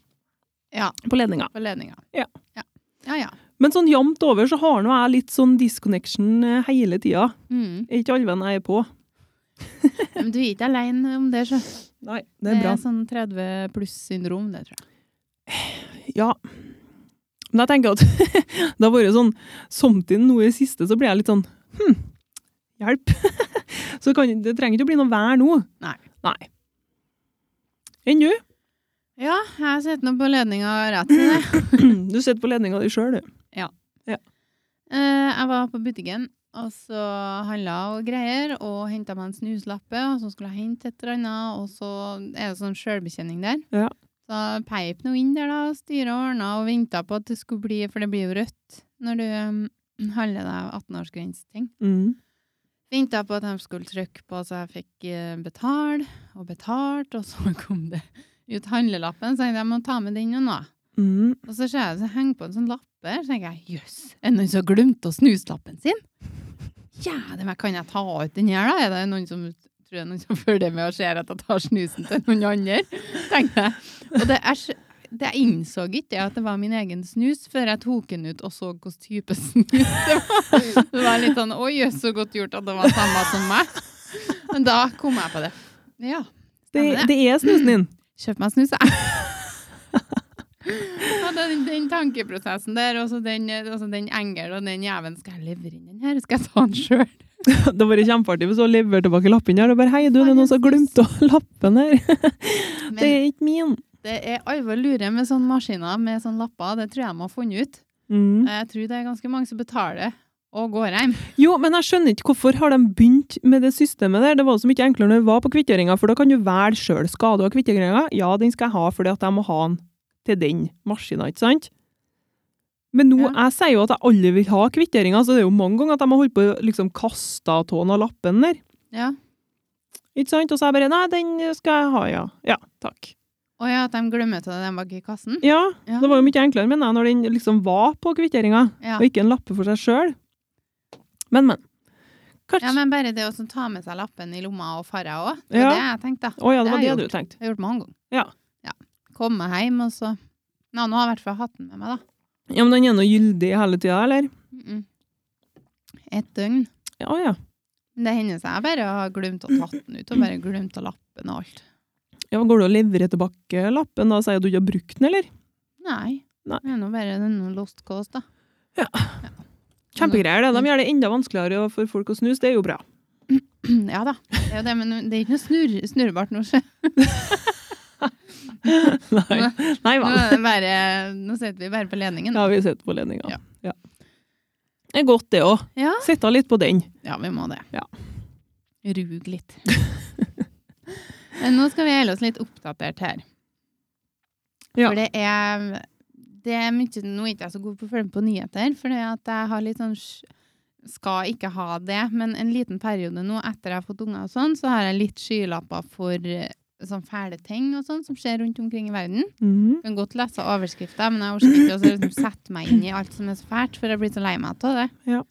Ja. på ledninga. På ledninga. Ja. Ja, ja. ja. Men sånn jevnt over så har nå jeg litt sånn disconnection eh, hele tida. Mm. Er ikke alven jeg er på. Men du er ikke aleine om det, sjø. Nei, det er bra. sånn 30 pluss-syndrom, det tror jeg. Ja. Men jeg tenker at (laughs) det har vært sånn Samtidig nå i det siste så blir jeg litt sånn Hm, hjelp. (laughs) så kan, det trenger ikke å bli noe vær nå. Nei. Nei. Enn du? (clears throat) Ja, jeg sitter nå på ledninga rett til (laughs) det. Du sitter på ledninga di sjøl, du. Eh, Jeg var på butikken, og så handla og greier, og henta meg en snuslappe, og så skulle jeg hente et eller annet, og så er det sånn sjølbetjening der. Ja. Så peip nå inn der, da, og styret ordna og venta på at det skulle bli For det blir jo rødt når du um, handler deg 18-årsgrenseting. Mm. Venta på at de skulle trykke på, så jeg fikk eh, betale og betalt, og så (laughs) kom det ut handlelappen, så jeg tenkte, jeg må ta med den nå. nå. Mm. Og så ser jeg det henger på en sånn lapp her, så tenker jeg jøss, er det noen som har glemt å snuse lappen sin? Ja, det meg, kan jeg ta ut den her, da? Er det noen som tror jeg noen som (laughs) følger med og ser at jeg tar snusen til noen andre? Tenkte jeg. Og det er så- det jeg innså ikke at det var min egen snus før jeg tok den ut og så hvilken type (laughs) snus det var. Det var litt sånn oi, jøss, så godt gjort at det var samme som meg. Men da kom jeg på det. Ja. Det, stemmer det er snusen din. (clears throat) Kjøp meg snus, jeg. (laughs) Ja, den, den tankeprosessen der, og så den, altså den engel og den jæven. Skal jeg levere inn den her? Skal jeg ta den sjøl? Det hadde vært kjempeartig hvis du hadde levert tilbake lappen her og bare Hei, du, det er noen som har glemt å (laughs) lappen her. Det (laughs) Men er ikke min. det er alvor lure med sånne maskiner med sånne lapper. Det tror jeg de har funnet ut. Mm. Jeg tror det er ganske mange som betaler og går hjem. Jo, men jeg skjønner ikke hvorfor har de begynt med det systemet der. Det var jo så mye enklere når vi var på kvitteringa, for da kan du velge sjøl. Skal du ha kvitteringa? Ja, den skal jeg ha, fordi at jeg må ha den til den maskina, ikke sant? Men nå, Ja. jeg sier jo at jeg aldri vil ha kvitteringa, så det er jo mange ganger at de har holdt på å liksom kaste av tåen av lappen der. Ja. Ikke sant? Og så er jeg bare Nei, den skal jeg ha, ja. Ja, takk. Og ja, at de glemmer til den bak i kassen. Ja, Ja. det var jo mye enklere, mener jeg, når den liksom var på kvitteringa, Ja. og ikke en lappe for seg sjøl. Men, men. ja, Kanskje Å ja, men bare det å sånn ta med seg lappen i lomma og fare òg. Det er Ja. det jeg tenkte. da. det var har jeg det gjort. du tenkte. Jeg har gjort mange ganger. Ja. ja. Komme hjem, og så Nå, nå har jeg i hvert fall hatt den med meg, da. Ja, men den er nå gyldig hele tida, eller? Mm Et døgn. Ja, ja. Men det hender seg jeg bare har glemt å tatt den ut, og bare glemt å lappe den og alt. ja går det å levere tilbake lappen da? Sier du ikke har brukt den, eller? Nei. Nei. Det er nå bare noe lost cause, da. Kjempegreier, det. De gjør det enda vanskeligere for folk å snuse. Det er jo bra. (clears throat) (laughs) ja da. Det er jo det, men det er ikke noe snurr, snurrbart nå, sjø. Nei, Nei Nå, vel. er det bare- nå sitter vi bare på ledningen. Da har vi sett på ledninga. Ja. Ja. Det er godt, det òg. Ja. Sitte litt på den. Ja, vi må det. Ja. Rug litt. (laughs) Men nå skal vi holde oss litt oppdatert her. Ja. For det er, det er mye Nå er ikke jeg så god på å følge med på nyheter, for jeg har litt sånn sj- Skal ikke ha det, men en liten periode nå etter jeg har fått unger og sånn, så har jeg litt skylapper for eh, sånn fæle ting og sånn som skjer rundt omkring i verden. Mhm. Jeg kan godt lese overskrifter, men jeg orker ikke å så liksom sette meg inn i alt som er så fælt, for jeg blir så lei meg av det. Ja.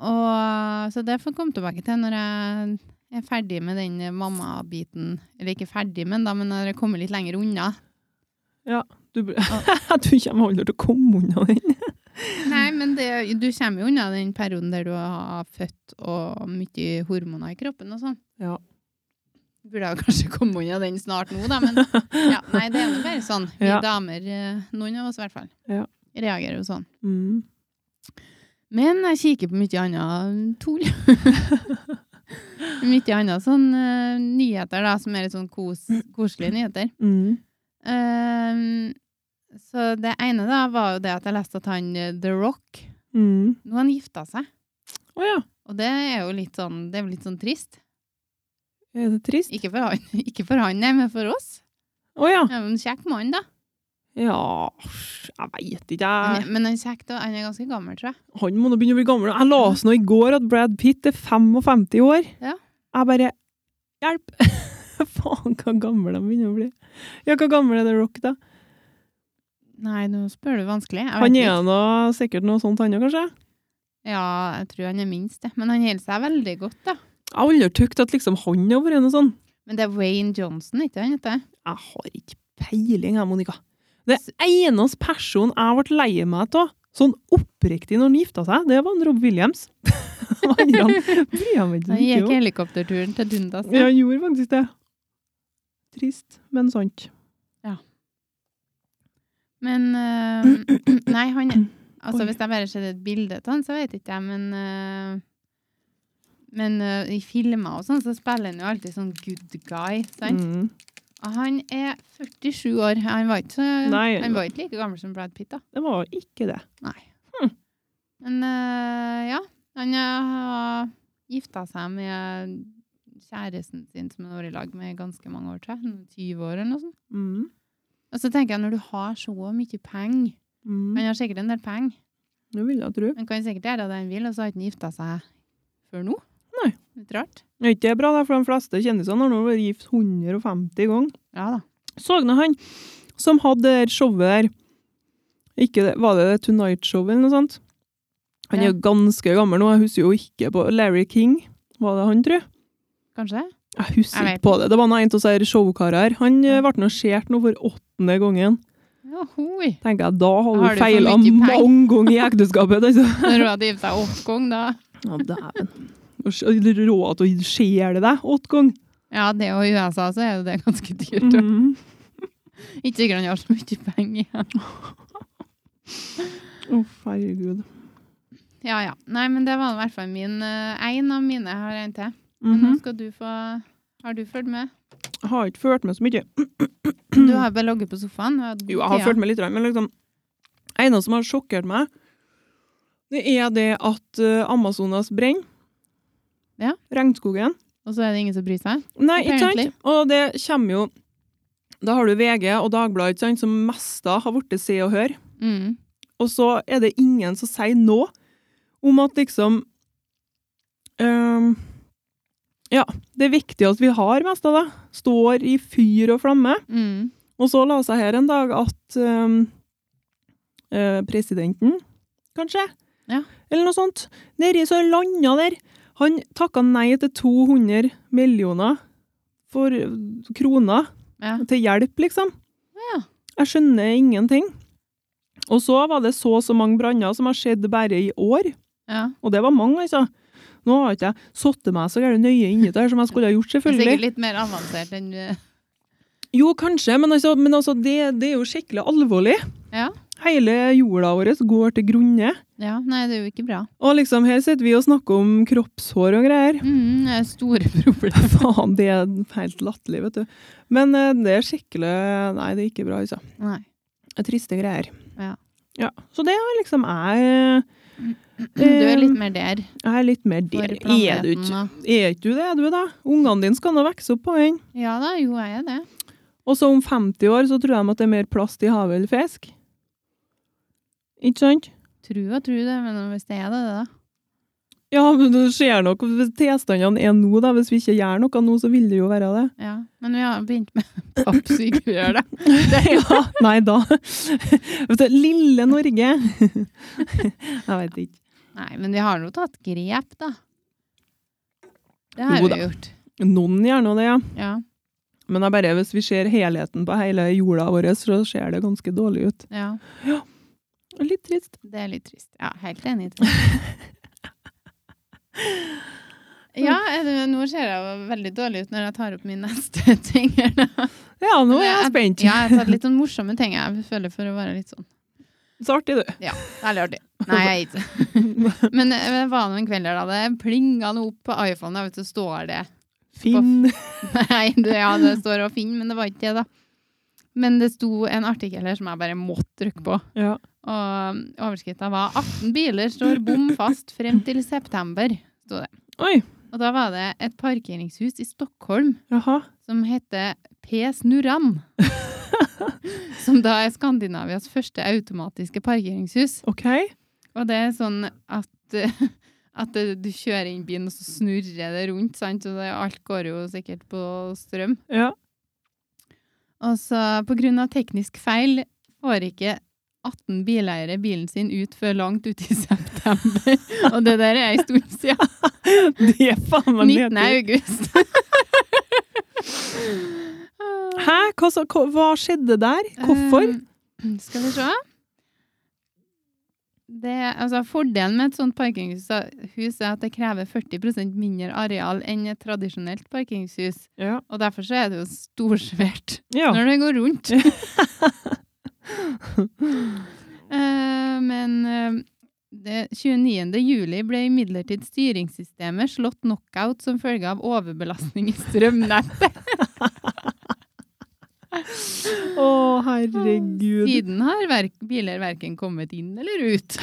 Og, så det får jeg komme tilbake til når jeg er ferdig med den mamma-biten. Eller ikke ferdig, men da, men når jeg kommer litt lenger unna. Du, br- (laughs) du kommer aldri til å komme unna den. Nei, men det, du kommer jo unna den perioden der du har født og mye hormoner i kroppen og sånn. Ja. Burde jeg jo kanskje komme unna den snart nå, da, (laughs) men ja, nei, det er jo bare sånn. Vi Ja. damer, eh, noen av oss i hvert fall, Ja. reagerer jo sånn. Mm. Men jeg kikker på mye annet tull. (laughs) mye annet sånn eh, nyheter, da, som er litt sånn kos, koselige nyheter. Mm. Ehm, så det ene da var jo det at jeg leste at han eh, The Rock Mm. Nå har han gifta seg. Å ja. Og det er jo litt sånn, det er jo litt sånn trist. Er det trist? Ikke for han, (laughs) ikke for han nei, men for oss. Å ja. Han er jo En kjekk mann, da. Ja Jeg veit ikke, Han jeg. er- Men han er kjekk, da. Han er ganske gammel, tror jeg. Han må nå begynne å bli gammel. Jeg leste nå i går at Brad Pitt er 55 år. Ja. Jeg bare Hjelp! (laughs) Faen, hva gammel de begynner å bli. Ja, hva gammel er The Rock, da? Nei, nå spør du vanskelig. Jeg vet Han ikke. er nå sikkert noe sånt, han òg, kanskje? Ja, jeg tror han er minst, det. Men han holder seg veldig godt, da. Jeg har aldri tykt at liksom han har vært noe sånn. Men det er Wayne Johnson, ikke han heter? Jeg har ikke peiling, jeg, Monica. Det eneste personen jeg ble lei meg av, sånn oppriktig når han gifta seg, det var han Rob Williams. (laughs) Han bryr jeg meg ikke så Han mye om. gikk helikopterturen til Dundas. Ja, jeg gjorde faktisk det. Trist, men sant. Men eh, (clears throat) Nei, han (clears throat) Altså, hvis jeg bare ser et bilde av han, så vet ikke jeg, men eh, Men eh, i filmer og sånn, så spiller han jo alltid sånn good guy, sant? Mm. Og han er 47 år. Han var ikke, så- Nei. han var ikke like gammel som Brad Pitt, da. Det var ikke det. Men eh, ja, han eh, har gifta seg med kjæresten sin, som han har vært i lag med i ganske mange år, tror jeg. 20 år eller noe sånt. Mm. Og så tenker jeg, når du har så mye penger Mm. Han har sikkert en del penger. Det vil jeg tro. Han kan sikkert gjøre det han vil, og så har han ikke gifta seg før nå. Nei. Litt rart. Er ikke det bra, da? For de fleste kjendisene har nå vært gift 150 ganger. Ja da. Sogna han som hadde det her showet der ikke det, Var det det Tonight-showet eller noe sånt? Han er Ja. jo ganske gammel nå, jeg husker jo ikke på Larry King. Var det han, tror jeg? Kanskje? Jeg husker Jeg vet ikke på det. Det var nå en av disse her showkarer her. Han eh, Ja. ble nå skjært nå for åttende gangen. Johoi! Tenker jeg, da Har har du du for feila mye penger? mange ganger i ekteskapet, altså. Når hun hadde gifta seg åtte ganger, da. Å, dæven. Og s- og Råd til å skjære deg åtte ganger. Ja, det og i USA så er jo det ganske dyrt. Mhm. Mm. Ikke sikkert han har så mye penger igjen. Å, herregud. Ja ja. Nei, men det var i hvert fall min eh, En av mine. Jeg har en til. Men nå Mhm. skal du få Har du fulgt (clears throat) med? Jeg har ikke ført med så mye. Du har bare ligget på sofaen. og Jo, jeg har tida. følt meg litt rann, men liksom En av som har sjokkert meg, det er det at eh, Amazonas brenner. Ja. Regnskogen. Og så er det ingen som bryr seg? Nei, ikke Apparently. sant? Og det kommer jo Da har du VG og Dagbladet, ikke sant, som mesta har blitt Se og Hør. Mm. Og så er det ingen som sier noe om at liksom ehm, Ja, det er viktig at vi har mest av det. Står i fyr og flamme. Mm. Og så la seg her en dag at øhm, øh, presidenten, kanskje, Ja. eller noe sånt, nede i så landa der, han takka nei til 200 millioner for øh, kroner Ja. til hjelp, liksom. Ja. Jeg skjønner ingenting. Og så var det så og så mange branner som har skjedd bare i år, ja. og det var mange, altså. Nå har ikke jeg satt meg så gærent nøye inni det her som jeg skulle ha gjort, Det er selvfølgelig. sikkert litt mer avansert enn eh, Jo, kanskje, men altså, men altså det, det er jo skikkelig alvorlig. Ja. Hele jorda vår går til grunne. Ja, nei, det er jo ikke bra. Og liksom, her sitter vi og snakker om kroppshår og greier. (laughs) Mm, det er store problemer. Faen, det er helt latterlig, vet du. Men eh, det er skikkelig Nei, det er ikke bra, altså. (laughs) Nei. Det er Triste greier. Ja. Ja, Så det er liksom jeg eh, Du er litt mer der. Jeg er litt mer For der. Ehm, Er planeten, du ikke da. er ikke du det, du, da? Ungene dine skal nå vokse opp på den. Ja da, jo, jeg er det. Og så om 50 år så tror de at det er mer plast i havet eller fisk. Ikke sant? Tru og tru det, men hvis det er det, det da. Ja, men det skjer nok. Hvis tilstandene er nå, da, hvis vi ikke gjør noe nå, så vil det jo være det. (laughs) Ja. Men vi har begynt med (laughs) pappsyke, vi gjør det. ja, nei da. (laughs) Vet du, lille Norge. (laughs) Jeg vet ikke. Nei, men vi har nå tatt grep, da. Det har Jo da. vi gjort. Noen gjør nå det, ja. Ja. Men det er bare hvis vi ser helheten på hele jorda vår, så ser det ganske dårlig ut. ja. Litt trist. Det er litt trist. Ja, helt enig. i det. (laughs) Ja, er det- nå ser jeg jo veldig dårlig ut når jeg tar opp min neste (laughs) ting. her nå. Ja, nå er jeg spent. Ja, jeg har tatt litt sånn morsomme ting, jeg føler, for å være litt sånn. Så artig, du. Ja, veldig artig. (laughs) Nei, jeg er ikke Men eh, det var nå en kveld der, da. Det plinga noe opp på iPhone, da, vet du, står det (laughs) Finn. Nei, det, ja, det står å finne, men det var ikke det, da. Men det sto en artikkel her som jeg bare måtte trykke på. Ja. Og overskrifta var 18 biler står bom fast frem til september. Oi. Og da var det et parkeringshus i Stockholm Jaha. som heter P. Snurran. som da er Skandinavias første automatiske parkeringshus. OK. Og det er sånn at, (laughs) eh, at eh, du kjører inn bilen, og så snurrer det rundt, sant? og det, alt går jo sikkert på strøm. Ja. (laughs) Og så på grunn av teknisk feil får ikke 18 bileiere bilen sin ut før langt ut i (laughs) september. Og det der er en stund siden. Det er faen meg 19. nedtur. august. Hæ? Hva, sa- hva, hva skjedde der? Hvorfor? Eh, skal vi se. Det, altså, fordelen med et sånt parkeringshus hus er at det krever 40 mindre areal enn et tradisjonelt parkeringshus. Ja. Og derfor så er det jo storsvært ja. når det går (laughs) rundt. Eh, men eh, det 29. juli ble imidlertid styringssystemet slått (laughs) knockout som følge av overbelastning i strømnettet. Å, herregud. Siden har verk, biler verken kommet inn eller ut.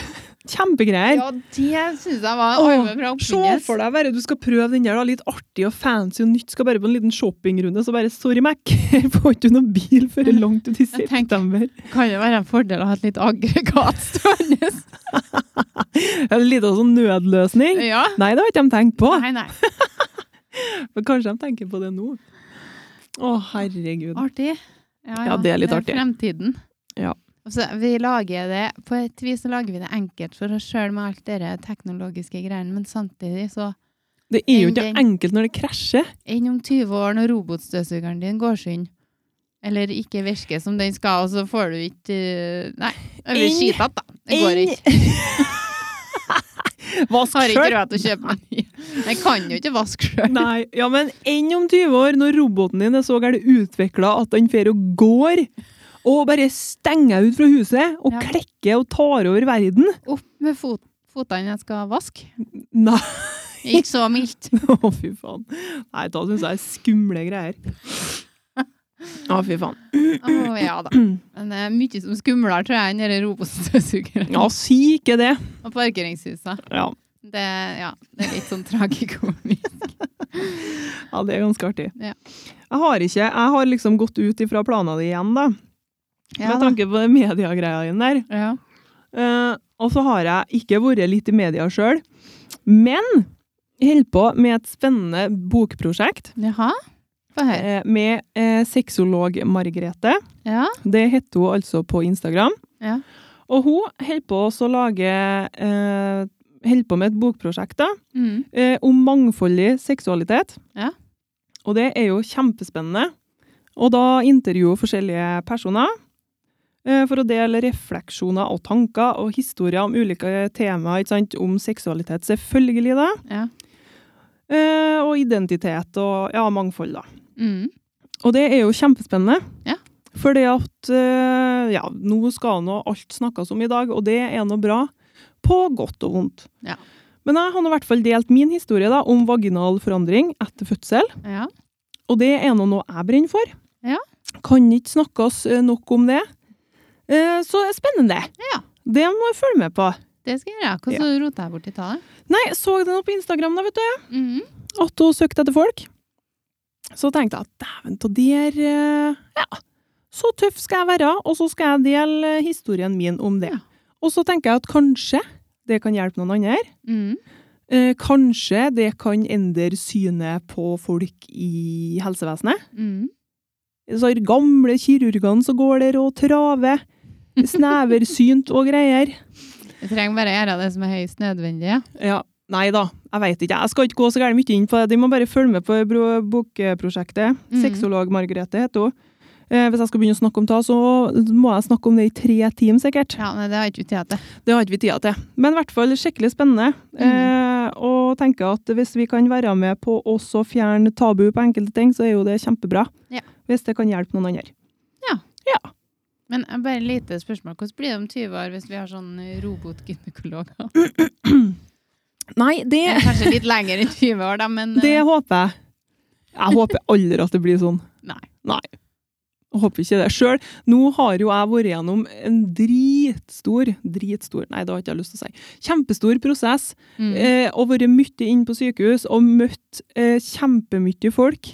Kjempegreier. Ja, det syns jeg var Åh, arve fra Se for oppfinnes. deg bare du skal prøve den der da, litt artig og fancy og nytt. Skal bare på en liten shoppingrunde, så bare sorry, Mac. (laughs) Får ikke du noen bil før langt ut i Jeg tenker- september. Kan det være en fordel å ha et litt aggregat stående? En liten sånn nødløsning. Ja. Nei, det har ikke de tenkt på. Nei, nei. Men kanskje de tenker på det nå. Å, herregud. Artig. Ja, det er litt artig. Fremtiden. Ja. Altså, vi lager det, på et vis så lager vi det enkelt for oss sjøl med alt det teknologiske greiene, men samtidig så Det er jo Den ikke gang. enkelt når det krasjer. Enn om 20 år når robotstøvsugeren din går sund, eller ikke virker som den skal, og så får du ikke eh, Nei, det blir Enn- skitete, da. Det går enn- ikke. (laughs) Vask Har ikke sjøl! råd til å kjøpe meg ny. Jeg kan jo ikke vaske sjøl. Nei, ja, men enn om 20 år, når roboten din er så gærent utvikla at den fer og går, og bare stenger ut fra huset, og Ja. klekker og tar over verden Opp med fot fotene jeg skal vaske. Nei, (laughs) Ikke så mildt. å fy faen. Nei, da syns jeg er skumle greier. Å, fy faen. Å ja (clears throat) da. Men det er mye som skumler, tror jeg, enn denne robotstøvsugeren. Ja, si ikke det. Og parkeringshusa. Ja, Det, ja, det er litt sånn tragikomisk. ja det er ganske artig. Ja. Jeg har ikke Jeg har liksom gått ut ifra planene dine igjen, da. (laughs) Ja, med da. tanke på den mediegreia din der. ja. Eh, og så har jeg ikke vært litt i media sjøl, men jeg holder på med et spennende bokprosjekt Jaha? Få høre. eh, med eh, sexolog Margrethe. Ja. Det heter hun altså på Instagram. Ja. Og hun holder på også å lage eh, Holder på med et bokprosjekt da, Mm. eh, om mangfoldig seksualitet. Ja. Og det er jo kjempespennende. Og da intervjuer hun forskjellige personer eh, for å dele refleksjoner og tanker og historier om ulike temaer ikke sant? om seksualitet, selvfølgelig, da. Ja. Eh, og identitet og ja, mangfold, da. Mm. Og det er jo kjempespennende. Ja. Fordi at eh, ja, nå skal nå alt snakkes om i dag, og det er nå bra. På godt og vondt. Ja. Men jeg har nå i hvert fall delt min historie da, om vaginal forandring etter fødsel. ja. Og det er nå noe jeg brenner for. Ja. Kan ikke snakkes eh, nok om det. Eh, Så det er spennende. Ja. Det må jeg følge med på. Det skal jeg gjøre. Hvordan rota jeg bort i tallet? Nei, jeg så den opp på Instagram da, vet du. Mm. At hun søkte etter folk. Så tenkte jeg at dæven ta der eh, Ja, så tøff skal jeg være, og så skal jeg dele eh, historien min om det. Ja. Og så tenker jeg at kanskje det kan hjelpe noen andre. Mm. Eh, Kanskje det kan endre synet på folk i helsevesenet. Mm. Så er gamle kirurgene som går der og traver. Sneversynt og greier. Jeg trenger bare gjøre det som er høyst nødvendig. ja. Ja, nei da, jeg veit ikke. Jeg skal ikke gå så gærent mye inn på det. De må bare følge med på bro- bokprosjektet. Mm. Sexolog Margrethe heter hun. Eh, Hvis jeg skal begynne å snakke om det, så må jeg snakke om det i tre timer sikkert. Ja, men det har jeg ikke tid til. Det har ikke vi tida til. Men i hvert fall skikkelig spennende. Mm. Eh, og tenker at hvis vi kan være med på også å fjerne tabu på enkelte ting, så er jo det kjempebra. Ja. Hvis det kan hjelpe noen andre. Men eh, bare lite spørsmål. Hvordan blir det om 20 år hvis vi har sånn robotgynekologer? (laughs) Nei, Det det, er (laughs) Kanskje litt lenger enn 20 år, da, men eh, det håper jeg. Jeg håper aldri at det blir sånn. Nei. Jeg håper ikke det. Sjøl nå har jo jeg vært gjennom en dritstor Dritstor, nei, det har ikke jeg lyst til å si. Kjempestor prosess. mm. Eh, og vært mye inne på sykehus og møtt eh, kjempemye folk.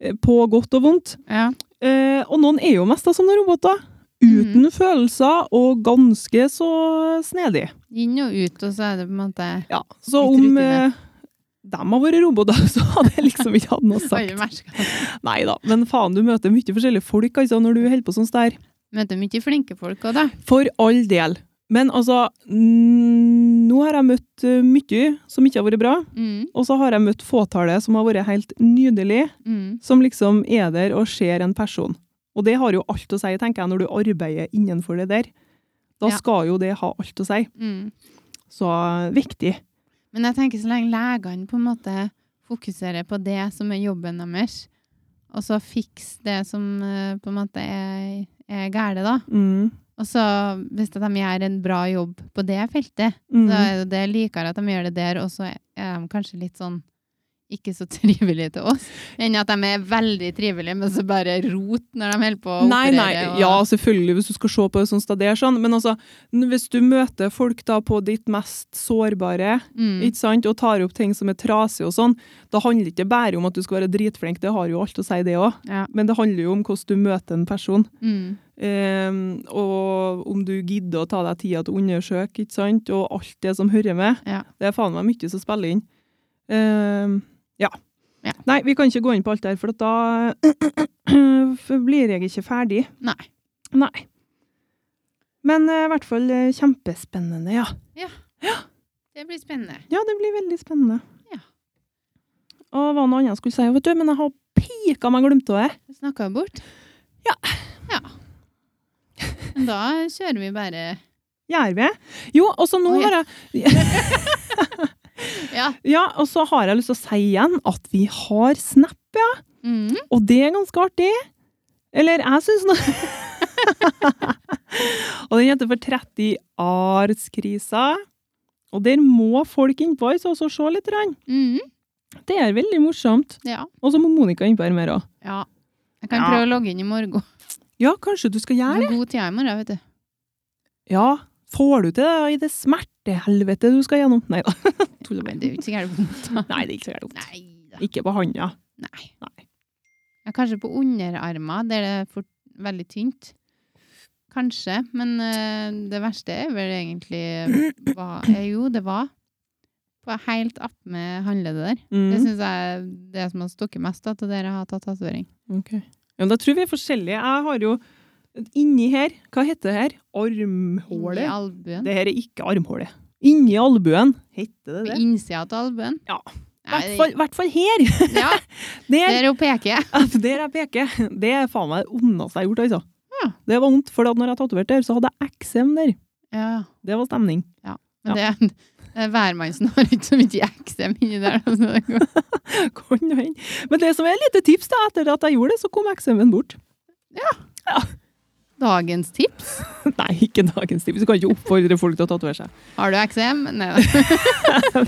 eh, På godt og vondt. ja. Eh, og noen er jo mest da som roboter. Mhm. Uten følelser og ganske så snedig. Inn og ut, og så er det på en måte Ja, så Litt om rutine. eh, dem har vært roboter, (laughs) så hadde jeg liksom ikke hatt noe å si. Alle mennesker. Nei da, men faen, du møter mye forskjellige folk altså, når du holder på sånn der. Møter mye flinke folk òg, da. For all del. Men altså, mm, nå har jeg møtt eh, mye som ikke har vært bra, Mm. og så har jeg møtt fåtallet som har vært helt nydelig, Mm. som liksom er der og ser en person. Og det har jo alt å si, tenker jeg, når du arbeider innenfor det der. Da Ja. skal jo det ha alt å si. Mm. Så eh, viktig. Men jeg tenker så lenge legene på en måte fokuserer på det som er jobben deres, og så fikse det som eh, på en måte er, er gale, da. Mm. Og så hvis at de gjør en bra jobb på det feltet, Mm. så er jo det likere at de gjør det der, og så er de kanskje litt sånn ikke så (laughs) trivelige til oss, enn at de er veldig trivelige, men så bare rot når de holder på å Nei, operere. nei, og- ja, selvfølgelig, hvis du skal se på det sånn stadig, sånn. men altså, n- hvis du møter folk da på ditt mest sårbare, Mm. ikke sant, og tar opp ting som er trasig og sånn, da handler det ikke bare om at du skal være dritflink, det har jo alt å si det også, Ja. men det handler jo om hvordan du møter en person, Mm. Ehm, og om du gidder å ta deg tida til å undersøke, ikke sant, og alt det som hører med, Ja. det er faen meg mye som spiller inn. Ehm, ja. Ja. Nei, vi kan ikke gå inn på alt der, for at (clears throat) da blir jeg ikke ferdig. Nei. Nei. Men eh, i hvert fall eh, kjempespennende, ja. Det blir spennende. Ja, det blir veldig spennende. Ja. Og hva noe annet jeg skulle si, vet du, men jeg har pika meg glemt av det. Du snakka jo bort. Ja. Ja. Men da kjører vi bare Gjør vi? Jo, og så nå Å, ja. har jeg Ja. Ja, og så har jeg lyst til å si igjen at vi har Snap, Mm. og det er ganske artig. Eller jeg syns nå (laughs) Og den heter for 30 artskrisa. Og der må folk innpå oss også se litt. grann. Mm. Det er veldig morsomt. Ja. Og så må Monica innpå her mer òg. ja. Jeg kan Ja. prøve å logge inn i morgen. Ja, kanskje du skal gjøre det? Det er god tid i morgen, vet du. Ja. Får du til det i det smertehelvetet du skal gjennom? Nei da. (laughs) Tuller Nei, bare. det er jo ikke sikkert vondt. da. Nei, det gikk så gærent. Nei da. Ikke på handa. Nei. Nei. Ja, kanskje på underarmer, der det er fort, veldig tynt. Kanskje, men eh, det verste er vel egentlig hva eh, Jo, det var på helt attmed håndleddet der. Det Mm. syns jeg er det som har stukket mest av til dere har tatt tatovering. Ok. Ja, men da tror jeg vi er forskjellige. Jeg har jo inni her Hva heter det her? Inni Armhålet? albuen. Det her er ikke armhålet. Inni albuen. Heter det På det? innsida av albuen. Ja. Nei, I hvert fall her! (laughs) ja, Der, der hun peker. (laughs) der jeg peker. Det er faen meg det ondeste jeg har gjort, altså. Ja. Det var vondt, for at når jeg tatoverte der, så hadde jeg eksem der. Ja, Det var stemning. (laughs) men det er værmannsen har ikke så mye eksem inni der. da, så det går- Kan jo hende. Men det som er et lite tips, da, etter at jeg gjorde det, så kom eksemen bort. Dagens tips. Nei, ikke dagens tips. Du kan ikke oppfordre folk til å tatovere seg. Har du eksem? Nei (laughs) da.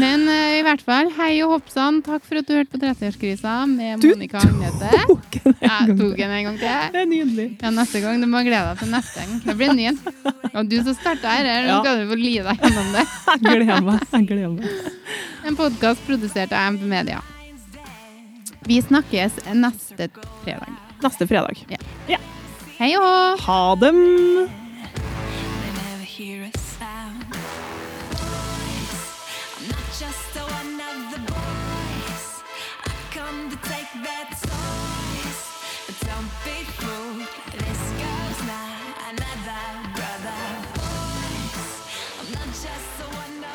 Men eh, i hvert fall, hei og hoppsann. Takk for at du hørte på 30-årskrisa med Du Monica Agnete. Tok en Jeg gang. tok den en gang til. Det er nydelig. Ja, neste gang. Du må glede deg til neste gang. Det blir en ny en. Og du som starta her, her, nå Ja. skal du få lide deg gjennom det. Jeg gleder meg. Jeg gleder meg. En podkast produsert av MP Media. Vi snakkes neste fredag. Neste fredag. Hei og hå! Ha dem! They never hear a sound. I'm not just a one of the boys. I come to take their toys. But don't be fooled. This goes now. Another brother voice. I'm not just a one